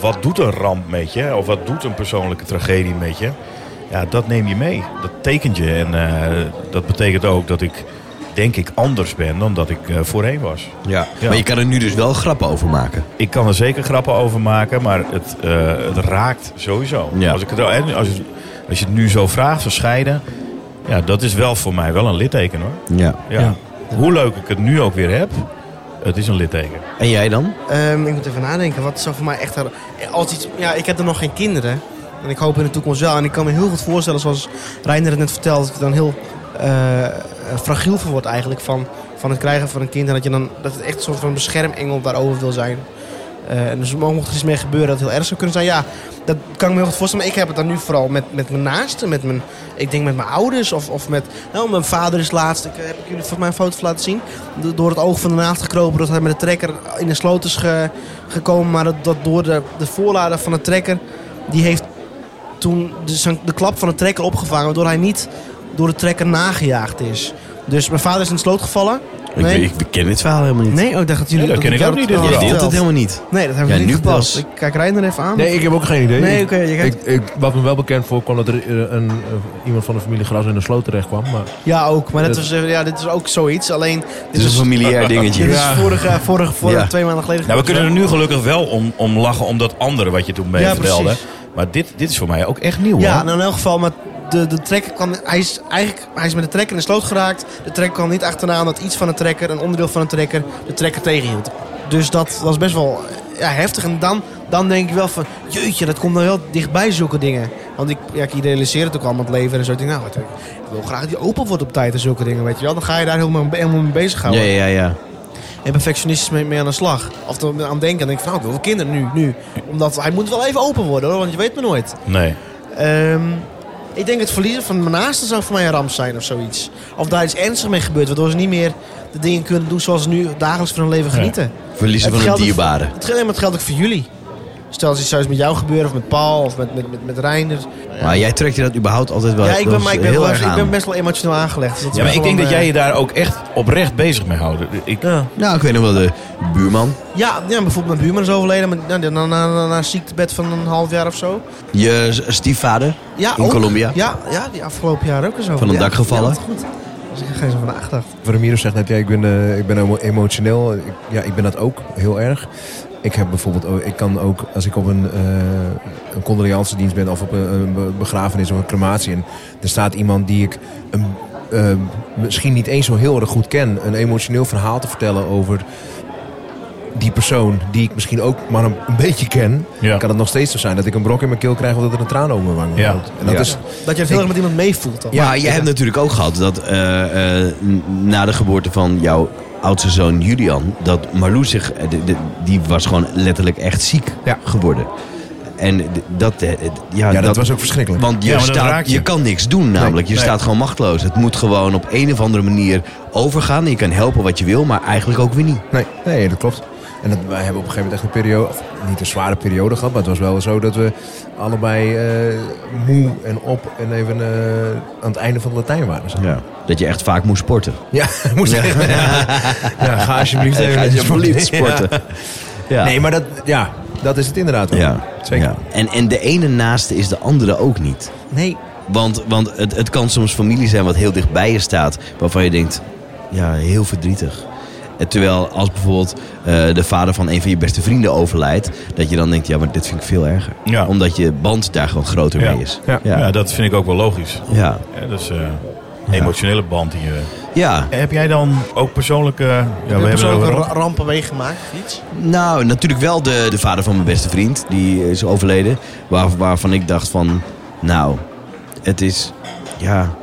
Speaker 5: Wat doet een ramp met je? Of wat doet een persoonlijke tragedie met je? Ja, dat neem je mee. Dat tekent je. En eh, dat betekent ook dat ik, denk ik, anders ben dan dat ik eh, voorheen was.
Speaker 2: Ja.
Speaker 5: Ja.
Speaker 2: Maar je kan er nu dus wel grappen over maken.
Speaker 5: Ik kan er zeker grappen over maken, maar het, eh, het raakt sowieso.
Speaker 2: Ja.
Speaker 5: Als, ik het, eh, als, je- als je het nu zo vraagt, verscheiden. Ja, dat is wel voor mij wel een litteken hoor.
Speaker 2: Ja.
Speaker 5: Ja. Hoe leuk ik het nu ook weer heb, het is een litteken.
Speaker 2: En jij dan?
Speaker 3: Ehm, ik moet even nadenken. Wat zou voor mij echt... een- Als iets, ja, ik heb er nog geen kinderen. En ik hoop in de toekomst wel. En ik kan me heel goed voorstellen, zoals Reiner het net vertelt... dat ik er dan heel eh, fragiel voor word eigenlijk. Van, van het krijgen van een kind. En dat, je dan, dat het echt een soort van beschermengel daarover wil zijn. Eh, en dus mocht er iets mee gebeuren dat het heel erg zou kunnen zijn. Ja, dat kan kan ik me heel goed voorstellen. Maar ik heb het dan nu vooral met, met mijn naasten. Met mijn, ik denk met mijn ouders. Of, of met... Nou, mijn vader is laatst... Ik, eh, heb ik jullie voor mijn foto laten zien? Do- door het oog van de naast gekropen. Dat hij met de trekker in de sloot is ge- gekomen. Maar dat, dat door de, de voorlader van de trekker... Die heeft toen de, zijn- de klap van de trekker opgevangen. Waardoor hij niet door de trekker nagejaagd is. Dus mijn vader is in de sloot gevallen. Nee,
Speaker 2: Ik, ik ken dit verhaal helemaal niet.
Speaker 3: nee oh, ik dacht dat jullie...
Speaker 5: Nee, dat ken ik
Speaker 3: jij
Speaker 5: ook niet, dit
Speaker 3: had
Speaker 2: Je
Speaker 5: verhaal.
Speaker 2: deelt
Speaker 3: verteld.
Speaker 2: dat helemaal niet.
Speaker 3: Nee, dat hebben we
Speaker 2: Ja,
Speaker 3: niet
Speaker 2: nu
Speaker 3: verteld.
Speaker 2: pas.
Speaker 3: Ik kijk Reiner even aan.
Speaker 4: Nee, ik heb ook geen idee.
Speaker 3: Nee,
Speaker 4: Ik-
Speaker 3: oké. je
Speaker 4: ik,
Speaker 3: kent-
Speaker 4: ik, wat me wel bekend voorkwam dat er eh, een, eh, iemand van de familie Gras in de sloot terecht kwam. Maar
Speaker 3: ja, ook. Maar dat
Speaker 4: Dat-
Speaker 3: was, eh, ja, dit is ook zoiets. Alleen, dit
Speaker 2: Het is
Speaker 3: is,
Speaker 2: een familiair
Speaker 3: dit
Speaker 2: dingetje.
Speaker 3: is vorige, vorige, vorige
Speaker 2: Ja.
Speaker 3: twee maanden geleden.
Speaker 5: Nou, we kunnen er
Speaker 3: gebeurd,
Speaker 5: nu gelukkig wel om, om lachen om dat andere wat je toen mee
Speaker 3: Ja,
Speaker 5: vertelde.
Speaker 3: precies.
Speaker 5: Maar dit, dit is voor mij ook echt nieuw.
Speaker 3: hè? Ja,
Speaker 5: hoor.
Speaker 3: nou in elk geval. Maar de, de trekker kwam... Hij is eigenlijk hij is met de trekker in de sloot geraakt. De trekker kwam niet achteraan dat iets van de trekker, een onderdeel van de trekker, de trekker tegenhield. Dus dat was best wel eh, ja, heftig. En dan, dan denk ik wel van... Jeetje, dat komt dan wel dichtbij zulke dingen. Want ik, ja, ik idealiseer het ook allemaal, het leven en zo. Ik denk, nou, wat- ik wil graag dat die open wordt op tijd en zulke dingen, weet je wel. Dan ga je daar helemaal, helemaal mee
Speaker 2: Ja,
Speaker 3: bezighouden.
Speaker 2: ja, ja. ja.
Speaker 3: en perfectionistisch mee, mee aan de slag. Of er aan denken. En denk ik van, nou, ik wil wel kinderen nu, nu. Omdat hij moet wel even open worden, hoor, want je weet maar nooit.
Speaker 5: Nee.
Speaker 3: Ehm, ik denk het verliezen van mijn naasten zou voor mij een ramp zijn of zoiets. Of daar iets ernstigs mee gebeurt, waardoor ze niet meer de dingen kunnen doen zoals ze nu dagelijks van hun leven genieten.
Speaker 2: Verliezen van
Speaker 3: Het
Speaker 2: een
Speaker 3: geldt ook-
Speaker 2: dierbare.
Speaker 3: Het, geldt- nee, maar het geldt ook voor jullie. Stel als iets zou eens met jou gebeuren, of met Paul, of met, met, met, met Reiner.
Speaker 2: Maar jij trekt je dat überhaupt altijd wel
Speaker 3: ja, ik ben, maar ik ben,
Speaker 2: heel
Speaker 3: wel-
Speaker 2: erg
Speaker 3: ik
Speaker 2: aan.
Speaker 3: ben best wel emotioneel aangelegd. dus dat is
Speaker 5: Ja, maar
Speaker 3: best
Speaker 5: ik
Speaker 3: wel
Speaker 5: denk dat
Speaker 3: een,
Speaker 5: jij je daar ook echt oprecht bezig mee houdt. Ik,
Speaker 3: eh, ja.
Speaker 2: Nou, ik weet nog wel de buurman.
Speaker 3: Ja, ja, bijvoorbeeld mijn buurman is overleden maar na, na, na, na, na een ziektebed van een half jaar of zo.
Speaker 2: Je s- stiefvader
Speaker 3: Ja,
Speaker 2: in
Speaker 3: ook.
Speaker 2: Colombia.
Speaker 3: Ja, ja, die afgelopen jaar ook zo.
Speaker 2: Van een
Speaker 3: ja,
Speaker 2: dak gevallen.
Speaker 3: Ja, dat is goed. Als ik er geen zo van aandacht.
Speaker 4: Ramiro zegt net, ja, ik ben, eh, ik ben emo- emotioneel. Ik, ja, ik ben dat ook heel erg. Ik heb bijvoorbeeld, ook- ik kan ook als ik op een, eh een condoleancedienst ben of op een, een be- begrafenis of een crematie en er staat iemand die ik een, eh, misschien niet eens zo heel erg goed ken, een emotioneel verhaal te vertellen over die persoon die ik misschien ook maar een, een beetje ken,
Speaker 5: Ja.
Speaker 4: kan het nog steeds zo zijn dat ik een brok in mijn keel krijg of dat er een traan over mijn wang
Speaker 5: Ja.
Speaker 4: loopt. En dat
Speaker 2: Ja.
Speaker 4: is
Speaker 3: Dat je het heel erg met iemand meevoelt dan.
Speaker 2: Ja, jij hebt natuurlijk ook gehad dat eh, eh, n- na de geboorte van jouw oudste zoon Julian, dat Marloes zich, eh, de- de- die was gewoon letterlijk echt ziek
Speaker 4: Ja.
Speaker 2: geworden. En d- dat, eh, d- ja,
Speaker 4: ja, dat, was ook verschrikkelijk.
Speaker 2: Want je,
Speaker 5: Ja, maar dat raakt
Speaker 2: staat,
Speaker 5: je.
Speaker 2: je. kan niks doen namelijk. je
Speaker 5: nee.
Speaker 2: staat gewoon machteloos. Het moet gewoon op een of andere manier overgaan. Je kan helpen wat je wil, maar eigenlijk ook weer niet.
Speaker 4: Nee, nee, dat klopt. En dat, wij hebben op een gegeven moment echt een periode, of niet een zware periode gehad, maar het was wel zo dat we allebei eh, moe en op en even eh, aan het einde van het Latijn waren. zeg.
Speaker 2: Dat je echt vaak moest sporten.
Speaker 4: Ja, moest even. Ja. Ja, ga alsjeblieft even.
Speaker 2: Als je verliefd sporten. Ja.
Speaker 4: Nee, maar dat, ja, dat is het inderdaad. wel.
Speaker 2: Ja,
Speaker 4: Zeker.
Speaker 2: Ja. En, en de ene naaste is de andere ook niet.
Speaker 3: Nee,
Speaker 2: Want, want het, het kan soms familie zijn wat heel dicht bij je staat, waarvan je denkt, ja, heel verdrietig. En terwijl als bijvoorbeeld eh, de vader van een van je beste vrienden overlijdt, dat je dan denkt, ja, maar dit vind ik veel erger.
Speaker 5: Ja.
Speaker 2: Omdat je band daar gewoon groter
Speaker 5: Ja.
Speaker 2: mee is.
Speaker 4: Ja.
Speaker 5: ja.
Speaker 2: Ja.
Speaker 5: dat vind ik ook wel logisch.
Speaker 2: Ja.
Speaker 5: Ja, dat is eh, een emotionele band die je...
Speaker 2: Ja.
Speaker 5: Heb jij dan ook persoonlijke... Ja, we
Speaker 3: heb
Speaker 5: hebben het
Speaker 3: persoonlijke
Speaker 5: over-
Speaker 3: ra- rampen meegemaakt of iets.
Speaker 2: Nou, natuurlijk wel de, de vader van mijn beste vriend. Die is overleden. Waar, waarvan ik dacht van... Nou, het is... Ja,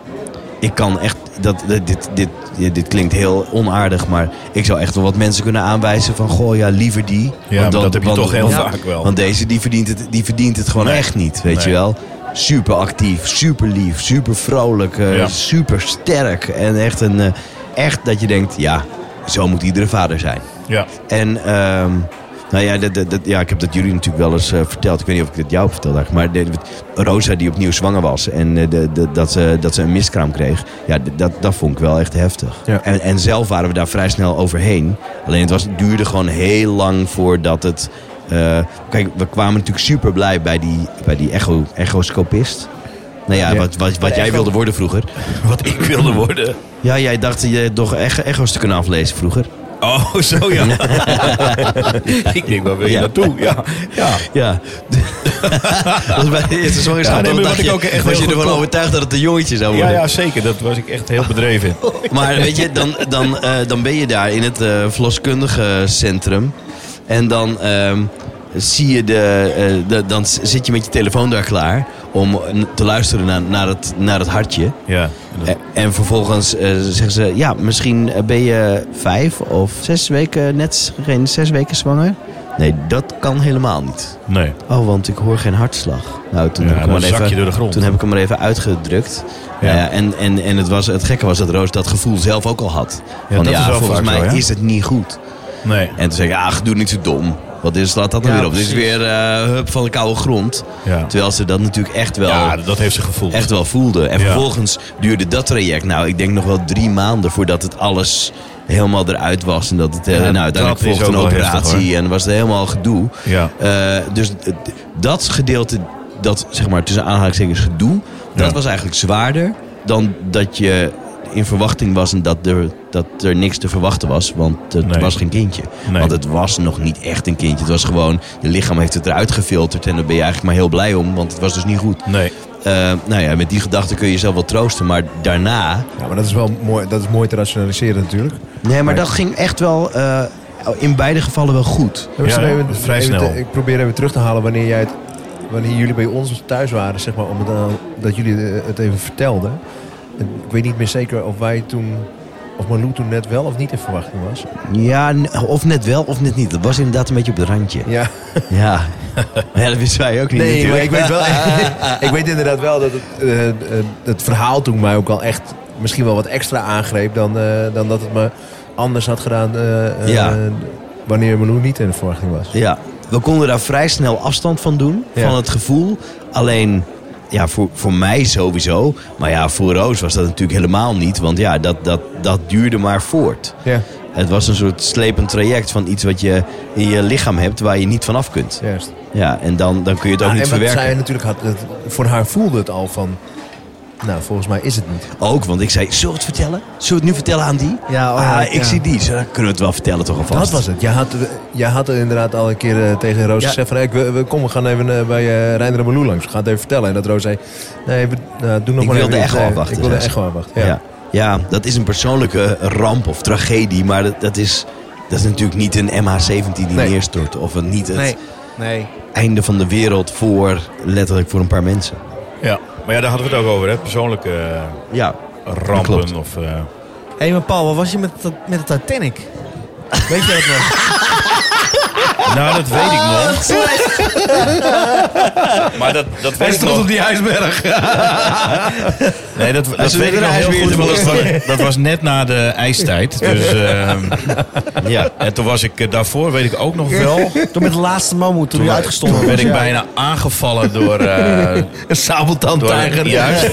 Speaker 2: ik kan echt... Dat, dat- dit, dit, dit, dit klinkt heel onaardig, maar ik zou echt wel wat mensen kunnen aanwijzen van... Goh, ja, liever die.
Speaker 5: Ja, maar dat heb je toch heel
Speaker 2: want-
Speaker 5: vaak wel.
Speaker 2: Want deze, die verdient het, die verdient het gewoon
Speaker 5: Nee.
Speaker 2: echt niet, weet
Speaker 5: Nee.
Speaker 2: je wel. Super actief, super lief, super vrolijk, eh,
Speaker 5: Ja.
Speaker 2: super sterk. En echt, een, eh, echt dat je denkt, ja, zo moet iedere vader zijn.
Speaker 5: Ja.
Speaker 2: En ehm, nou ja, dat, dat, dat- ja, ik heb dat jullie natuurlijk wel eens eh, verteld. Ik weet niet of ik het jou heb verteld eigenlijk. Maar de- Rosa die opnieuw zwanger was en eh, de, de- dat, ze, dat ze een miskraam kreeg. Ja, d- dat, dat vond ik wel echt heftig.
Speaker 4: Ja.
Speaker 2: En, en zelf waren we daar vrij snel overheen. Alleen het was, duurde gewoon heel lang voordat het... eh, kijk, we kwamen natuurlijk super blij bij die, bij die echo, echoscopist. Nou ja,
Speaker 4: Ja.
Speaker 2: wat, wat, wat jij wilde worden vroeger.
Speaker 5: Wat ik wilde worden.
Speaker 2: Ja, jij dacht je toch echo- echo's te kunnen aflezen vroeger.
Speaker 5: Oh, zo ja. ik denk, waar wil je
Speaker 2: Ja.
Speaker 5: naartoe? Ja. ja.
Speaker 2: Ja. dat was bij de eerste zwangerschap.
Speaker 5: Ja, nee, maar
Speaker 2: dan
Speaker 5: wat
Speaker 2: dacht
Speaker 5: ik
Speaker 2: je-
Speaker 5: ook echt
Speaker 2: was
Speaker 5: heel
Speaker 2: je
Speaker 5: goed
Speaker 2: ervan
Speaker 5: kon.
Speaker 2: overtuigd dat het een jongetje zou
Speaker 5: Ja,
Speaker 2: worden.
Speaker 5: ja, zeker. Dat was ik echt heel bedreven in.
Speaker 2: Maar weet je, dan, dan, eh, dan ben je daar in het eh verloskundige centrum. En dan ehm, zie je de, eh, de- Dan s- zit je met je telefoon daar klaar om eh, te luisteren naar, naar, het, naar het hartje.
Speaker 5: Ja.
Speaker 2: Eh, En vervolgens eh, zeggen ze, ja, misschien eh, ben je vijf of zes weken, net geen zes weken zwanger. Nee, dat kan helemaal niet.
Speaker 5: Nee.
Speaker 2: Oh, want ik hoor geen hartslag. Nou, toen
Speaker 5: Ja,
Speaker 2: heb ik hem
Speaker 5: dan
Speaker 2: maar
Speaker 5: zak je
Speaker 2: even,
Speaker 5: door de grond.
Speaker 2: Toen heb ik hem maar even uitgedrukt.
Speaker 5: Ja.
Speaker 2: Nou ja, en en, en het, was, het gekke was dat Roos dat gevoel zelf ook al had. Want
Speaker 5: dat
Speaker 2: ja,
Speaker 5: is wel
Speaker 2: volgens
Speaker 5: vaak
Speaker 2: mij
Speaker 5: zo, hè?
Speaker 2: is het niet goed.
Speaker 5: Nee.
Speaker 2: En toen zei ik, ach, doe niet zo dom. Wat is, laat dat nou
Speaker 3: Ja,
Speaker 2: weer op. Dit is
Speaker 3: precies.
Speaker 2: weer eh hup van de koude grond.
Speaker 5: Ja.
Speaker 2: Terwijl ze dat natuurlijk echt wel,
Speaker 5: ja, dat heeft ze gevoeld.
Speaker 2: echt wel voelde. En
Speaker 5: Ja.
Speaker 2: vervolgens duurde dat traject, nou, ik denk nog wel drie maanden voordat het alles helemaal eruit was. En dat het, eh,
Speaker 5: Ja,
Speaker 2: nou,
Speaker 5: dat
Speaker 2: uiteindelijk
Speaker 5: is
Speaker 2: volgde
Speaker 5: ook
Speaker 2: een
Speaker 5: wel heftig,
Speaker 2: operatie en was het helemaal gedoe.
Speaker 5: Ja.
Speaker 2: Eh, dus het- dat gedeelte, dat zeg maar tussen aanhalingstekens gedoe, dat
Speaker 5: Ja.
Speaker 2: was eigenlijk zwaarder dan dat je in verwachting was en dat er, dat er niks te verwachten was. Want het
Speaker 5: Nee.
Speaker 2: was geen kindje.
Speaker 5: Nee.
Speaker 2: Want het was nog niet echt een kindje. Het was gewoon, je lichaam heeft het eruit gefilterd en daar ben je eigenlijk maar heel blij om, want het was dus niet goed.
Speaker 5: Nee.
Speaker 2: Eh, nou ja, met die gedachte kun je jezelf wel troosten, maar daarna...
Speaker 4: Ja, maar dat is wel mooi, dat is mooi te rationaliseren natuurlijk.
Speaker 2: Nee, maar dat ging echt wel eh, in beide gevallen wel goed.
Speaker 4: Ja, maar
Speaker 5: Ja,
Speaker 4: snap je,
Speaker 5: dat is vrij
Speaker 4: even-
Speaker 5: snel.
Speaker 4: ik probeer even terug te halen wanneer, jij het, wanneer jullie bij ons thuis waren, zeg maar, om het, aan- dat jullie eh, het even vertelden. En ik weet niet meer zeker of wij toen, of Malou toen net wel of niet in verwachting was.
Speaker 2: Ja, n- of net wel of net niet. Dat was inderdaad een beetje op het randje.
Speaker 4: Ja,
Speaker 2: Ja, maar ja, dat wisten wij ook niet
Speaker 4: nee, maar
Speaker 2: natuurlijk.
Speaker 4: ik weet, wel, ik weet inderdaad wel dat het, eh, eh, het verhaal toen mij ook al echt misschien wel wat extra aangreep dan, eh, dan dat het me anders had gedaan eh, eh,
Speaker 2: Ja.
Speaker 4: wanneer Malou niet in de verwachting was.
Speaker 2: Ja, we konden daar vrij snel afstand van doen,
Speaker 4: Ja.
Speaker 2: van het gevoel. Alleen, ja, voor, voor mij sowieso. Maar ja, voor Roos was dat natuurlijk helemaal niet. Want ja, dat, dat, dat duurde maar voort.
Speaker 4: Ja,
Speaker 2: Het was een soort slepend traject van iets wat je in je lichaam hebt waar je niet vanaf kunt.
Speaker 4: juist.
Speaker 2: Ja, en dan, dan kun je het ook
Speaker 4: Ja,
Speaker 2: niet
Speaker 4: Ah, en wat
Speaker 2: verwerken.
Speaker 4: zij natuurlijk had, het- voor haar voelde het al van. Nou, volgens mij is het niet.
Speaker 2: Ook, want ik zei, zullen we het vertellen? Zullen we het nu vertellen aan die?
Speaker 4: Ja, oh
Speaker 2: ah,
Speaker 4: ja,
Speaker 2: ik
Speaker 4: ja.
Speaker 2: zie die. Zo, dan kunnen we het wel vertellen toch alvast.
Speaker 4: Dat was het. Jij had, jij had er inderdaad al een keer eh, tegen Roos
Speaker 2: Ja.
Speaker 4: gezegd van... hey, we, we, kom, we gaan even eh, bij eh Reiner en Malou langs. We gaan het even vertellen. En dat Roos zei... Nee, we, nou, doe nog
Speaker 2: Ik
Speaker 4: maar
Speaker 2: wil
Speaker 4: even
Speaker 2: de
Speaker 4: iets.
Speaker 2: echo
Speaker 4: Nee,
Speaker 2: afwachten,
Speaker 4: Ik wil de
Speaker 2: zei ze.
Speaker 4: echo afwachten,
Speaker 2: Ja.
Speaker 4: ja.
Speaker 2: Ja. dat is een persoonlijke ramp of tragedie. Maar dat, dat, is, dat is natuurlijk niet een MH17 die
Speaker 4: Nee.
Speaker 2: neerstort. Of een, niet het
Speaker 3: Nee. Nee.
Speaker 2: einde van de wereld voor letterlijk voor een paar mensen.
Speaker 5: Ja. Maar ja, daar hadden we het ook over, hè? Persoonlijke eh,
Speaker 2: Ja, klopt.
Speaker 5: rampen. Of, eh,
Speaker 3: Hé, maar Paul, wat was je met, dat- met de Titanic? Weet je dat nog?
Speaker 5: Nou, dat weet ik nog. maar dat, dat weet ik nog.
Speaker 2: die ijsberg.
Speaker 5: Nee, dat, dat
Speaker 2: is
Speaker 5: weet
Speaker 2: weer
Speaker 5: ik nog
Speaker 2: een
Speaker 5: heel
Speaker 2: ijsbeer
Speaker 5: goed. want
Speaker 2: te
Speaker 5: Dat was, dat was net na de ijstijd. Dus, ehm,
Speaker 2: ja.
Speaker 5: en toen was ik eh, daarvoor, weet ik ook nog wel.
Speaker 3: Toen met de laatste mammoet, toen die uitgestonden
Speaker 5: Toen
Speaker 3: was.
Speaker 5: werd ik
Speaker 3: ja.
Speaker 5: bijna aangevallen door... eh
Speaker 2: Een sabeltandtijger.
Speaker 5: door juist.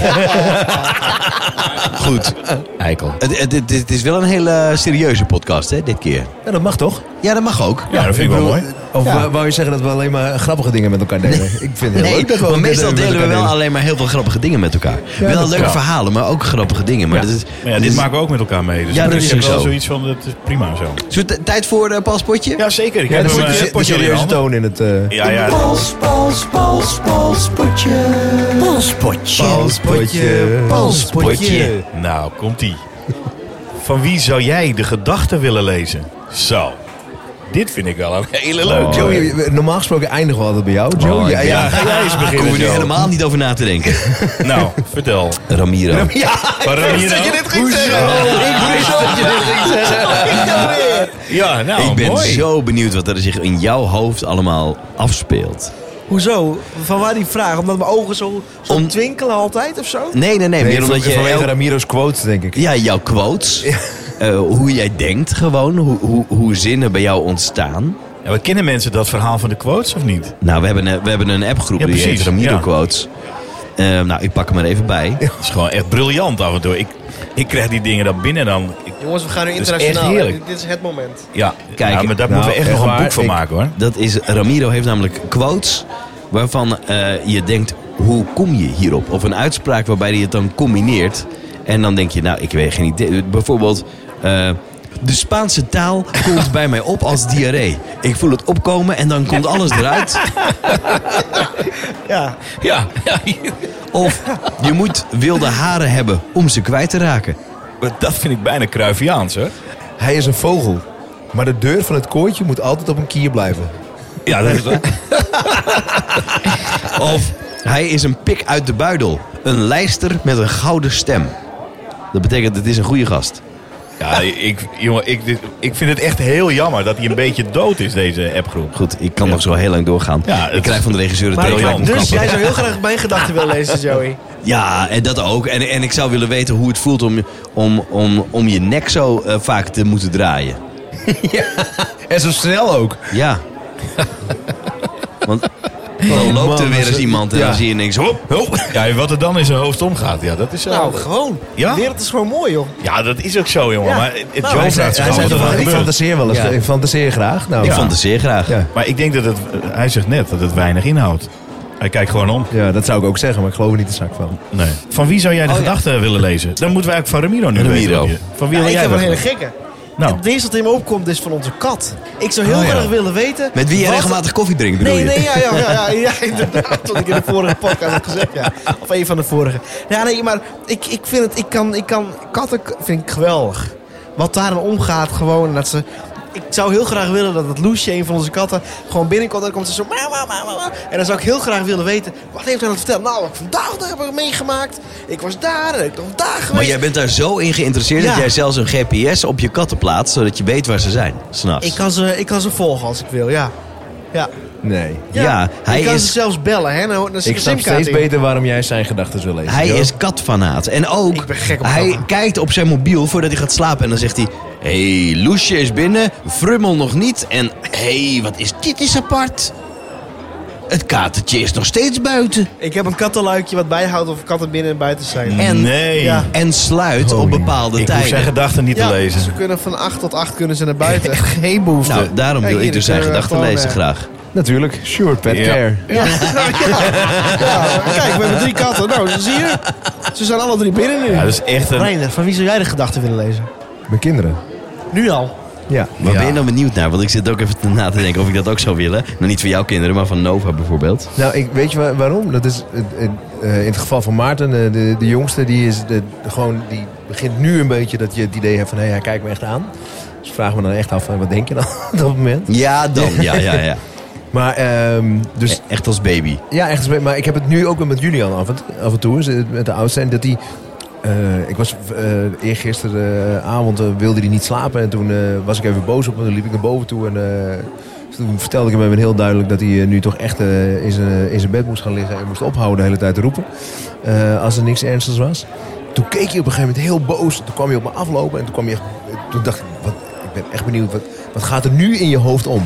Speaker 2: Goed.
Speaker 5: Eikel.
Speaker 2: Het, het, het- het is wel een hele serieuze podcast, hè, dit keer.
Speaker 4: Ja, dat mag toch?
Speaker 2: Ja, dat mag ook.
Speaker 5: Ja, dat vind ik wel mooi.
Speaker 4: Of wou- wou je zeggen dat we alleen maar grappige dingen met elkaar delen? Ik vind het heel
Speaker 2: Nee,
Speaker 4: leuk dat we
Speaker 2: maar
Speaker 4: ook
Speaker 2: meestal
Speaker 4: met
Speaker 2: delen we
Speaker 4: elkaar
Speaker 2: wel alleen maar heel veel grappige dingen met elkaar. wel
Speaker 4: dat-
Speaker 2: leuke
Speaker 5: ja.
Speaker 2: verhalen, maar ook grappige dingen. Maar dat is,
Speaker 5: Maar ja,
Speaker 2: dat
Speaker 5: dit
Speaker 2: is-
Speaker 5: maken we ook met elkaar mee. Dus
Speaker 2: Ja,
Speaker 5: ik
Speaker 2: dat is
Speaker 5: heb
Speaker 2: ook
Speaker 5: wel
Speaker 2: zo.
Speaker 5: zoiets van, het is prima zo.
Speaker 2: Zullen we t- tijd voor eh Paul's potje?
Speaker 5: Ja, zeker. Ik
Speaker 4: Ja,
Speaker 5: heb
Speaker 4: dat
Speaker 5: hem,
Speaker 4: is
Speaker 5: eh,
Speaker 4: een de
Speaker 5: potje in de
Speaker 4: serieuze
Speaker 5: handen.
Speaker 4: toon in het... eh,
Speaker 5: Ja, ja.
Speaker 4: Paul's
Speaker 2: Paul's
Speaker 4: potje.
Speaker 2: potje.
Speaker 5: Nou, komt-ie. Van wie zou jij de gedachten willen lezen? Zo. Dit vind ik wel een hele leuke.
Speaker 4: Joey, je- normaal gesproken eindigen we altijd bij jou. Joe,
Speaker 2: Oh,
Speaker 4: jij,
Speaker 2: ja.
Speaker 5: Ja,
Speaker 4: jij-
Speaker 5: jij eens
Speaker 2: Daar hoeven
Speaker 5: beginnen,
Speaker 2: we nu
Speaker 5: Joe.
Speaker 2: helemaal niet over na te denken.
Speaker 5: Nou, vertel. nou?
Speaker 2: Ramiro.
Speaker 5: Van Ramiro? Ja, nou,
Speaker 2: ik ben
Speaker 5: mooi.
Speaker 2: zo benieuwd wat er zich in jouw hoofd allemaal afspeelt.
Speaker 3: Hoezo? Van waar die vraag? Omdat mijn ogen zo, zo
Speaker 2: Om-
Speaker 3: twinkelen altijd of zo?
Speaker 2: Nee, nee, nee. meer
Speaker 4: Nee,
Speaker 2: omdat
Speaker 4: van-
Speaker 2: je
Speaker 4: vanwege
Speaker 2: elk-
Speaker 4: Ramiro's quotes, denk ik.
Speaker 2: ja, jouw quotes. eh, hoe jij denkt gewoon. Hoe, hoe, hoe zinnen bij jou ontstaan.
Speaker 5: Ja, maar kennen mensen dat verhaal van de quotes of niet?
Speaker 2: Nou, we hebben een, we hebben een appgroep
Speaker 5: Ja,
Speaker 2: die heet
Speaker 5: precies,
Speaker 2: Ramiro
Speaker 5: ja.
Speaker 2: Quotes. Eh, nou, ik pak hem er even bij.
Speaker 5: Dat is gewoon echt briljant af en toe. Ik, ik krijg die dingen dan binnen dan. Ik,
Speaker 3: Jongens, we gaan nu
Speaker 5: is
Speaker 3: internationaal.
Speaker 5: echt heerlijk.
Speaker 3: Dit- Dit is het moment.
Speaker 5: ja,
Speaker 2: Kijk,
Speaker 5: nou, maar daar
Speaker 4: nou,
Speaker 5: moeten we echt,
Speaker 4: echt
Speaker 5: nog een
Speaker 4: waar,
Speaker 5: boek van
Speaker 4: ik-
Speaker 5: maken hoor.
Speaker 2: Dat is, Ramiro heeft namelijk quotes waarvan eh, je denkt, hoe kom je hierop? Of een uitspraak waarbij hij het dan combineert. En dan denk je, nou, ik weet geen idee. Bijvoorbeeld, eh, de Spaanse taal komt bij mij op als diarree. Ik voel het opkomen en dan komt alles eruit.
Speaker 3: Ja.
Speaker 5: Ja, ja,
Speaker 2: Of, je moet wilde haren hebben om ze kwijt te raken.
Speaker 5: maar dat vind ik bijna Cruyffiaans hoor.
Speaker 4: Hij is een vogel. Maar de deur van het kooitje moet altijd op een kier blijven.
Speaker 5: Ja, dat is dat.
Speaker 2: Of, hij is een pik uit de buidel. Een lijster met een gouden stem. Dat betekent, het is een goede gast.
Speaker 5: Ja, ik, jongen, ik, dit- ik vind het echt heel jammer dat hij een beetje dood is, deze appgroep.
Speaker 2: Goed, ik kan nog zo heel lang doorgaan.
Speaker 5: Ja,
Speaker 2: ik
Speaker 5: het-
Speaker 2: krijg van de regisseur het
Speaker 5: Maar
Speaker 2: teken.
Speaker 5: Jan,
Speaker 2: dat ik moet
Speaker 3: Dus
Speaker 2: kappen.
Speaker 3: jij zou heel graag mijn gedachten willen lezen, Joey.
Speaker 2: Ja, en dat ook. En, en ik zou willen weten hoe het voelt om, om, om, om je nek zo eh, vaak te moeten draaien.
Speaker 4: En zo snel ook.
Speaker 2: Ja. Want dan loopt er
Speaker 4: man,
Speaker 2: weer
Speaker 4: dat
Speaker 2: eens
Speaker 4: is-
Speaker 2: iemand en
Speaker 4: ja.
Speaker 2: dan zie je niks. Hop.
Speaker 5: Hop. eh, Ja, wat er dan in zijn hoofd omgaat, ja, dat is zo.
Speaker 3: Nou, gewoon.
Speaker 5: Ja?
Speaker 3: De wereld is gewoon mooi, joh.
Speaker 5: ja, dat is ook zo, jongen.
Speaker 3: Ja.
Speaker 5: Maar het
Speaker 3: Nou,
Speaker 5: Joe
Speaker 3: hij zei-
Speaker 5: vraagt zich
Speaker 4: Hij
Speaker 5: af wat
Speaker 4: zei
Speaker 5: er
Speaker 4: toch
Speaker 5: dan
Speaker 4: wel, ik
Speaker 5: gebeurt.
Speaker 4: fantaseer wel eens.
Speaker 2: Ja.
Speaker 4: Ik fantaseer graag. Nou,
Speaker 2: Ik
Speaker 4: ja.
Speaker 2: fantaseer graag.
Speaker 4: Ja.
Speaker 5: Maar ik denk dat het, eh, hij zegt net dat het weinig inhoudt. Hij kijkt gewoon om.
Speaker 4: Ja, dat zou ik ook zeggen, maar ik geloof er niet de zak van.
Speaker 5: Nee. Van wie zou jij de gedachten willen lezen? Dan moeten wij ook van Ramiro nu
Speaker 2: Ramiro.
Speaker 5: weten. wat je- Van wie
Speaker 3: Ja,
Speaker 5: wil
Speaker 3: ik
Speaker 5: jij
Speaker 3: heb een
Speaker 5: wel?
Speaker 3: hele gekke.
Speaker 5: Nou,
Speaker 3: Het eerste dat in me opkomt is van onze kat. Ik zou heel
Speaker 5: Oh, ja.
Speaker 3: graag willen weten...
Speaker 2: Met wie je
Speaker 3: wat-
Speaker 2: regelmatig koffie drinkt, bedoel
Speaker 3: Nee, nee,
Speaker 2: je?
Speaker 3: ja, ja, ja, ja, ja, inderdaad. Wat ik in de vorige podcast heb gezegd, ja. Of een van de vorige. Ja, nee, maar ik, ik vind het, ik kan, ik kan, katten k- vind ik geweldig. Wat daarin omgaat gewoon, dat ze... Ik zou heel graag willen dat dat Loesje, een van onze katten, gewoon binnenkomt en dan komt ze zo... "Mau, mau, mau, mau, mau." En dan zou ik heel graag willen weten, wat heeft hij aan het vertellen? Nou, wat ik vandaag heb ik meegemaakt. Ik was daar en ik was daar geweest.
Speaker 2: Maar jij bent daar zo in geïnteresseerd dat
Speaker 3: Ja.
Speaker 2: jij zelfs een GPS op je katten plaatst, zodat je weet waar ze zijn. S'nachts.
Speaker 3: Ik kan, ze, ik kan ze volgen als ik wil, ja. Ja,
Speaker 4: Nee.
Speaker 2: Ja, hij
Speaker 3: ik kan
Speaker 2: is-
Speaker 3: ze zelfs bellen, hè. Dan, dan zit
Speaker 4: Ik
Speaker 3: een
Speaker 4: snap
Speaker 3: simkaart
Speaker 4: steeds
Speaker 3: in.
Speaker 4: beter waarom jij zijn gedachten wil lezen.
Speaker 2: Hij
Speaker 4: Jo.
Speaker 2: is katfanaat. En ook,
Speaker 3: Ik ben gek op
Speaker 2: hij
Speaker 3: katten.
Speaker 2: kijkt op zijn mobiel voordat hij gaat slapen. En dan zegt hij... Hé, hey, Loesje is binnen, Frummel nog niet. En hé, hey, wat is dit is apart. Het katertje is nog steeds buiten.
Speaker 3: Ik heb een kattenluikje wat bijhoudt of katten binnen en buiten zijn.
Speaker 5: Mm,
Speaker 2: En,
Speaker 5: nee.
Speaker 3: Ja.
Speaker 2: en sluit op bepaalde
Speaker 5: Ik hoef
Speaker 2: tijden.
Speaker 5: zijn gedachten niet
Speaker 3: Ja,
Speaker 5: te lezen.
Speaker 3: Ze kunnen van 8 tot 8 kunnen ze naar buiten.
Speaker 4: geen behoefte.
Speaker 2: Nou, daarom
Speaker 3: Hey,
Speaker 2: wil ik
Speaker 3: hier,
Speaker 2: dus
Speaker 3: dan
Speaker 2: zijn
Speaker 3: kunnen we
Speaker 2: gedachten
Speaker 3: gewoon,
Speaker 2: lezen
Speaker 3: eh,
Speaker 2: graag.
Speaker 4: Natuurlijk, sure, pet
Speaker 5: Ja.
Speaker 4: care.
Speaker 3: Ja. Ja, Kijk, we hebben drie katten. Nou, zie je. Ze zijn alle drie binnen nu.
Speaker 5: Ja, dat is echt een...
Speaker 3: Reiner, van wie zou jij de gedachten willen lezen?
Speaker 4: Mijn kinderen.
Speaker 3: Nu al.
Speaker 4: Ja.
Speaker 2: Waar ben je nou benieuwd naar? Want ik zit ook even na te denken of ik dat ook zou willen. Nou, niet van jouw kinderen, maar van Nova bijvoorbeeld.
Speaker 4: Nou, ik, weet je wa- waarom? Dat is eh, eh, eh, in het geval van Maarten, eh, de, de jongste, die, is de, gewoon, die begint nu een beetje dat je het idee hebt van hé, hij kijkt me echt aan. Dus vraag me dan echt af, eh, wat denk je dan op dat moment?
Speaker 2: Ja, dan. Ja, ja, ja. E-,
Speaker 4: Maar, ehm, dus,
Speaker 2: Echt als baby.
Speaker 4: ja, echt, maar ik heb het nu ook wel met Julian af en, af en toe, dus, eh, met de oudste, en dat hij... eh, ik was eh eergisteravond eh, wilde hij niet slapen en toen eh, was ik even boos op hem. Toen liep ik naar boven toe en eh, toen vertelde ik hem even heel duidelijk dat hij eh, nu toch echt eh, in, zijn, in zijn bed moest gaan liggen en moest ophouden de hele tijd te roepen. eh, als er niks ernstigs was. Toen keek hij op een gegeven moment heel boos. Toen kwam hij op me aflopen en toen, kwam hij echt, toen dacht ik, wat, ik ben echt benieuwd, wat, wat gaat er nu in je hoofd om?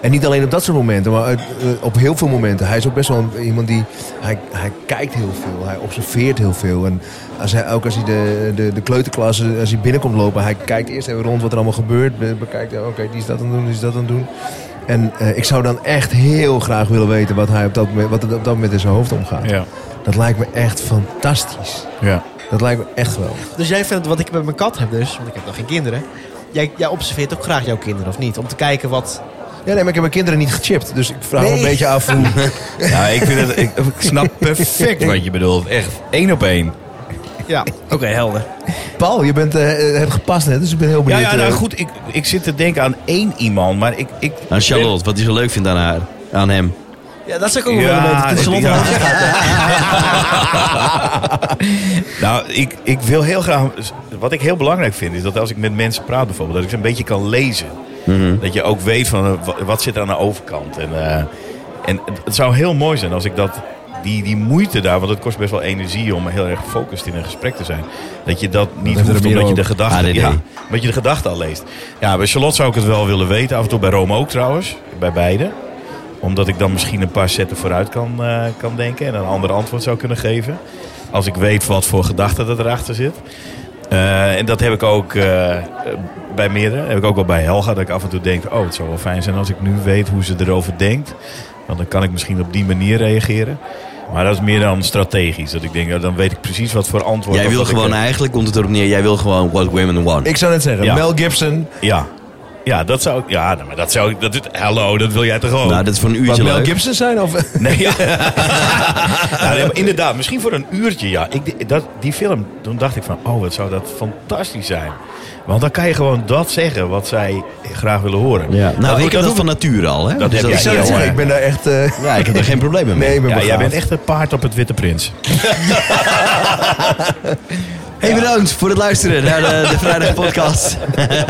Speaker 4: En niet alleen op dat soort momenten, maar eh, eh, op heel veel momenten. Hij is ook best wel een- iemand die. Hij, hij kijkt heel veel, hij observeert heel veel. En als hij, ook als hij de, de, de kleuterklas, eh, als hij binnenkomt lopen, hij kijkt eerst even rond wat er allemaal gebeurt. Be- Bekijkt, eh, oké, die is dat aan het doen, die is dat aan het doen. En eh, ik zou dan echt heel graag willen weten wat, hij op dat moment, wat er op dat moment in zijn hoofd omgaat.
Speaker 5: Ja.
Speaker 4: Dat lijkt me echt fantastisch.
Speaker 5: Ja.
Speaker 4: Dat lijkt me echt geweldig.
Speaker 3: Dus jij vindt wat ik met mijn kat heb dus, want ik heb nog geen kinderen. Jij, jij observeert ook graag jouw kinderen, of niet? Om te kijken wat...
Speaker 4: Ja, nee, maar ik heb mijn kinderen niet gechipt. Dus ik vraag me
Speaker 3: Nee.
Speaker 4: een beetje af hoe...
Speaker 5: Ja, ik, vind het, ik, ik snap perfect wat je bedoelt. Echt, één op één.
Speaker 3: Ja.
Speaker 5: Oké, helder.
Speaker 4: Paul, je bent, eh, hebt gepast net, dus ik ben heel
Speaker 5: Ja,
Speaker 4: benieuwd.
Speaker 5: ja nou
Speaker 4: eh,
Speaker 5: goed, ik, ik zit te denken aan één iemand, maar ik... ik
Speaker 2: Aan Nou, Charlotte, wat hij zo leuk vindt aan haar. Aan hem.
Speaker 3: Ja, dat zou ik ook wel willen weten.
Speaker 5: Ja,
Speaker 3: Het is
Speaker 5: ja. nou, ik, ik wil heel graag. Wat ik heel belangrijk vind is dat als ik met mensen praat, bijvoorbeeld, dat ik ze een beetje kan lezen. Dat je ook weet van eh, wa- wat zit er aan de overkant. En, eh, en het- het zou heel mooi zijn als ik dat. Die, die moeite daar, want het kost best wel energie om heel erg gefocust in een gesprek te zijn. Dat je dat niet
Speaker 4: hebben we
Speaker 5: hoeft,
Speaker 4: hier
Speaker 5: omdat je, de
Speaker 4: ook.
Speaker 5: gedachte,
Speaker 2: ADD.
Speaker 5: ja, omdat je de gedachte al leest. Ja, bij Charlotte zou ik het wel willen weten. Af en toe bij Rome ook trouwens. Bij beide omdat ik dan misschien een paar zetten vooruit kan, eh, kan denken en een ander antwoord zou kunnen geven. Als ik weet wat voor gedachte dat erachter zit. Eh, en dat heb ik ook eh, eh, bij meerdere. Heb ik ook wel bij Helga. Dat ik af en toe denk: oh, het zou wel fijn zijn als ik nu weet hoe ze erover denkt. Want dan kan ik misschien op die manier reageren. Maar dat is meer dan strategisch. Dat ik denk: ja, dan weet ik precies wat voor antwoord.
Speaker 2: Jij
Speaker 5: of
Speaker 2: wil
Speaker 5: wat ik
Speaker 2: gewoon,
Speaker 5: heb.
Speaker 2: eigenlijk komt het erop neer, jij wil gewoon what women want.
Speaker 4: Ik zou net zeggen,
Speaker 5: Ja.
Speaker 4: Mel Gibson.
Speaker 5: Ja. Ja, dat zou ik. Ja, nou, maar dat zou ik. Dat, dit- hallo, dat wil jij toch ook?
Speaker 2: nou, dat is voor een
Speaker 4: Wat
Speaker 2: uurtje
Speaker 4: Mel
Speaker 2: leuk.
Speaker 4: Gibson zijn? Of,
Speaker 5: Nee, ja. Ja, nee, maar inderdaad, misschien voor een uurtje, ja. Ik, dat, die film, toen dacht ik van, oh, wat zou dat fantastisch zijn. Want dan kan je gewoon dat zeggen wat zij graag willen horen.
Speaker 2: Ja. Nou,
Speaker 5: Dat-
Speaker 2: ik heb
Speaker 5: dat
Speaker 2: dat
Speaker 5: doen-
Speaker 2: van nature al, hè? Dus
Speaker 5: Dat heb
Speaker 4: ik
Speaker 5: jij
Speaker 4: zou
Speaker 5: heel
Speaker 4: net zeggen,
Speaker 5: erg.
Speaker 4: ik ben daar echt... eh,
Speaker 2: Ja, ik heb er geen problemen mee.
Speaker 4: nee, ik ben
Speaker 5: Ja, jij
Speaker 4: begaafd.
Speaker 5: bent echt een paard op het Witte Prins.
Speaker 2: Hey, bedankt voor het luisteren naar de, de Vrijdag Podcast.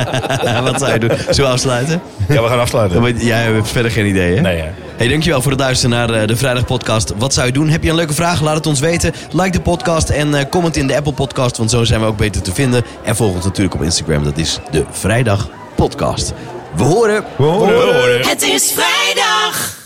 Speaker 2: Wat zou je doen? Zullen we afsluiten?
Speaker 5: Ja, we gaan afsluiten.
Speaker 2: Want Jij hebt verder geen idee, hè?
Speaker 5: Nee, hè.
Speaker 2: Hey, dankjewel voor het luisteren naar eh, de Vrijdag Podcast. Wat zou je doen? Heb je een leuke vraag? Laat het ons weten. Like de podcast en eh, comment in de Apple Podcast, want zo zijn we ook beter te vinden. En volg ons natuurlijk op Instagram, dat is de Vrijdag Podcast. We horen.
Speaker 5: We horen.
Speaker 1: Het is vrijdag.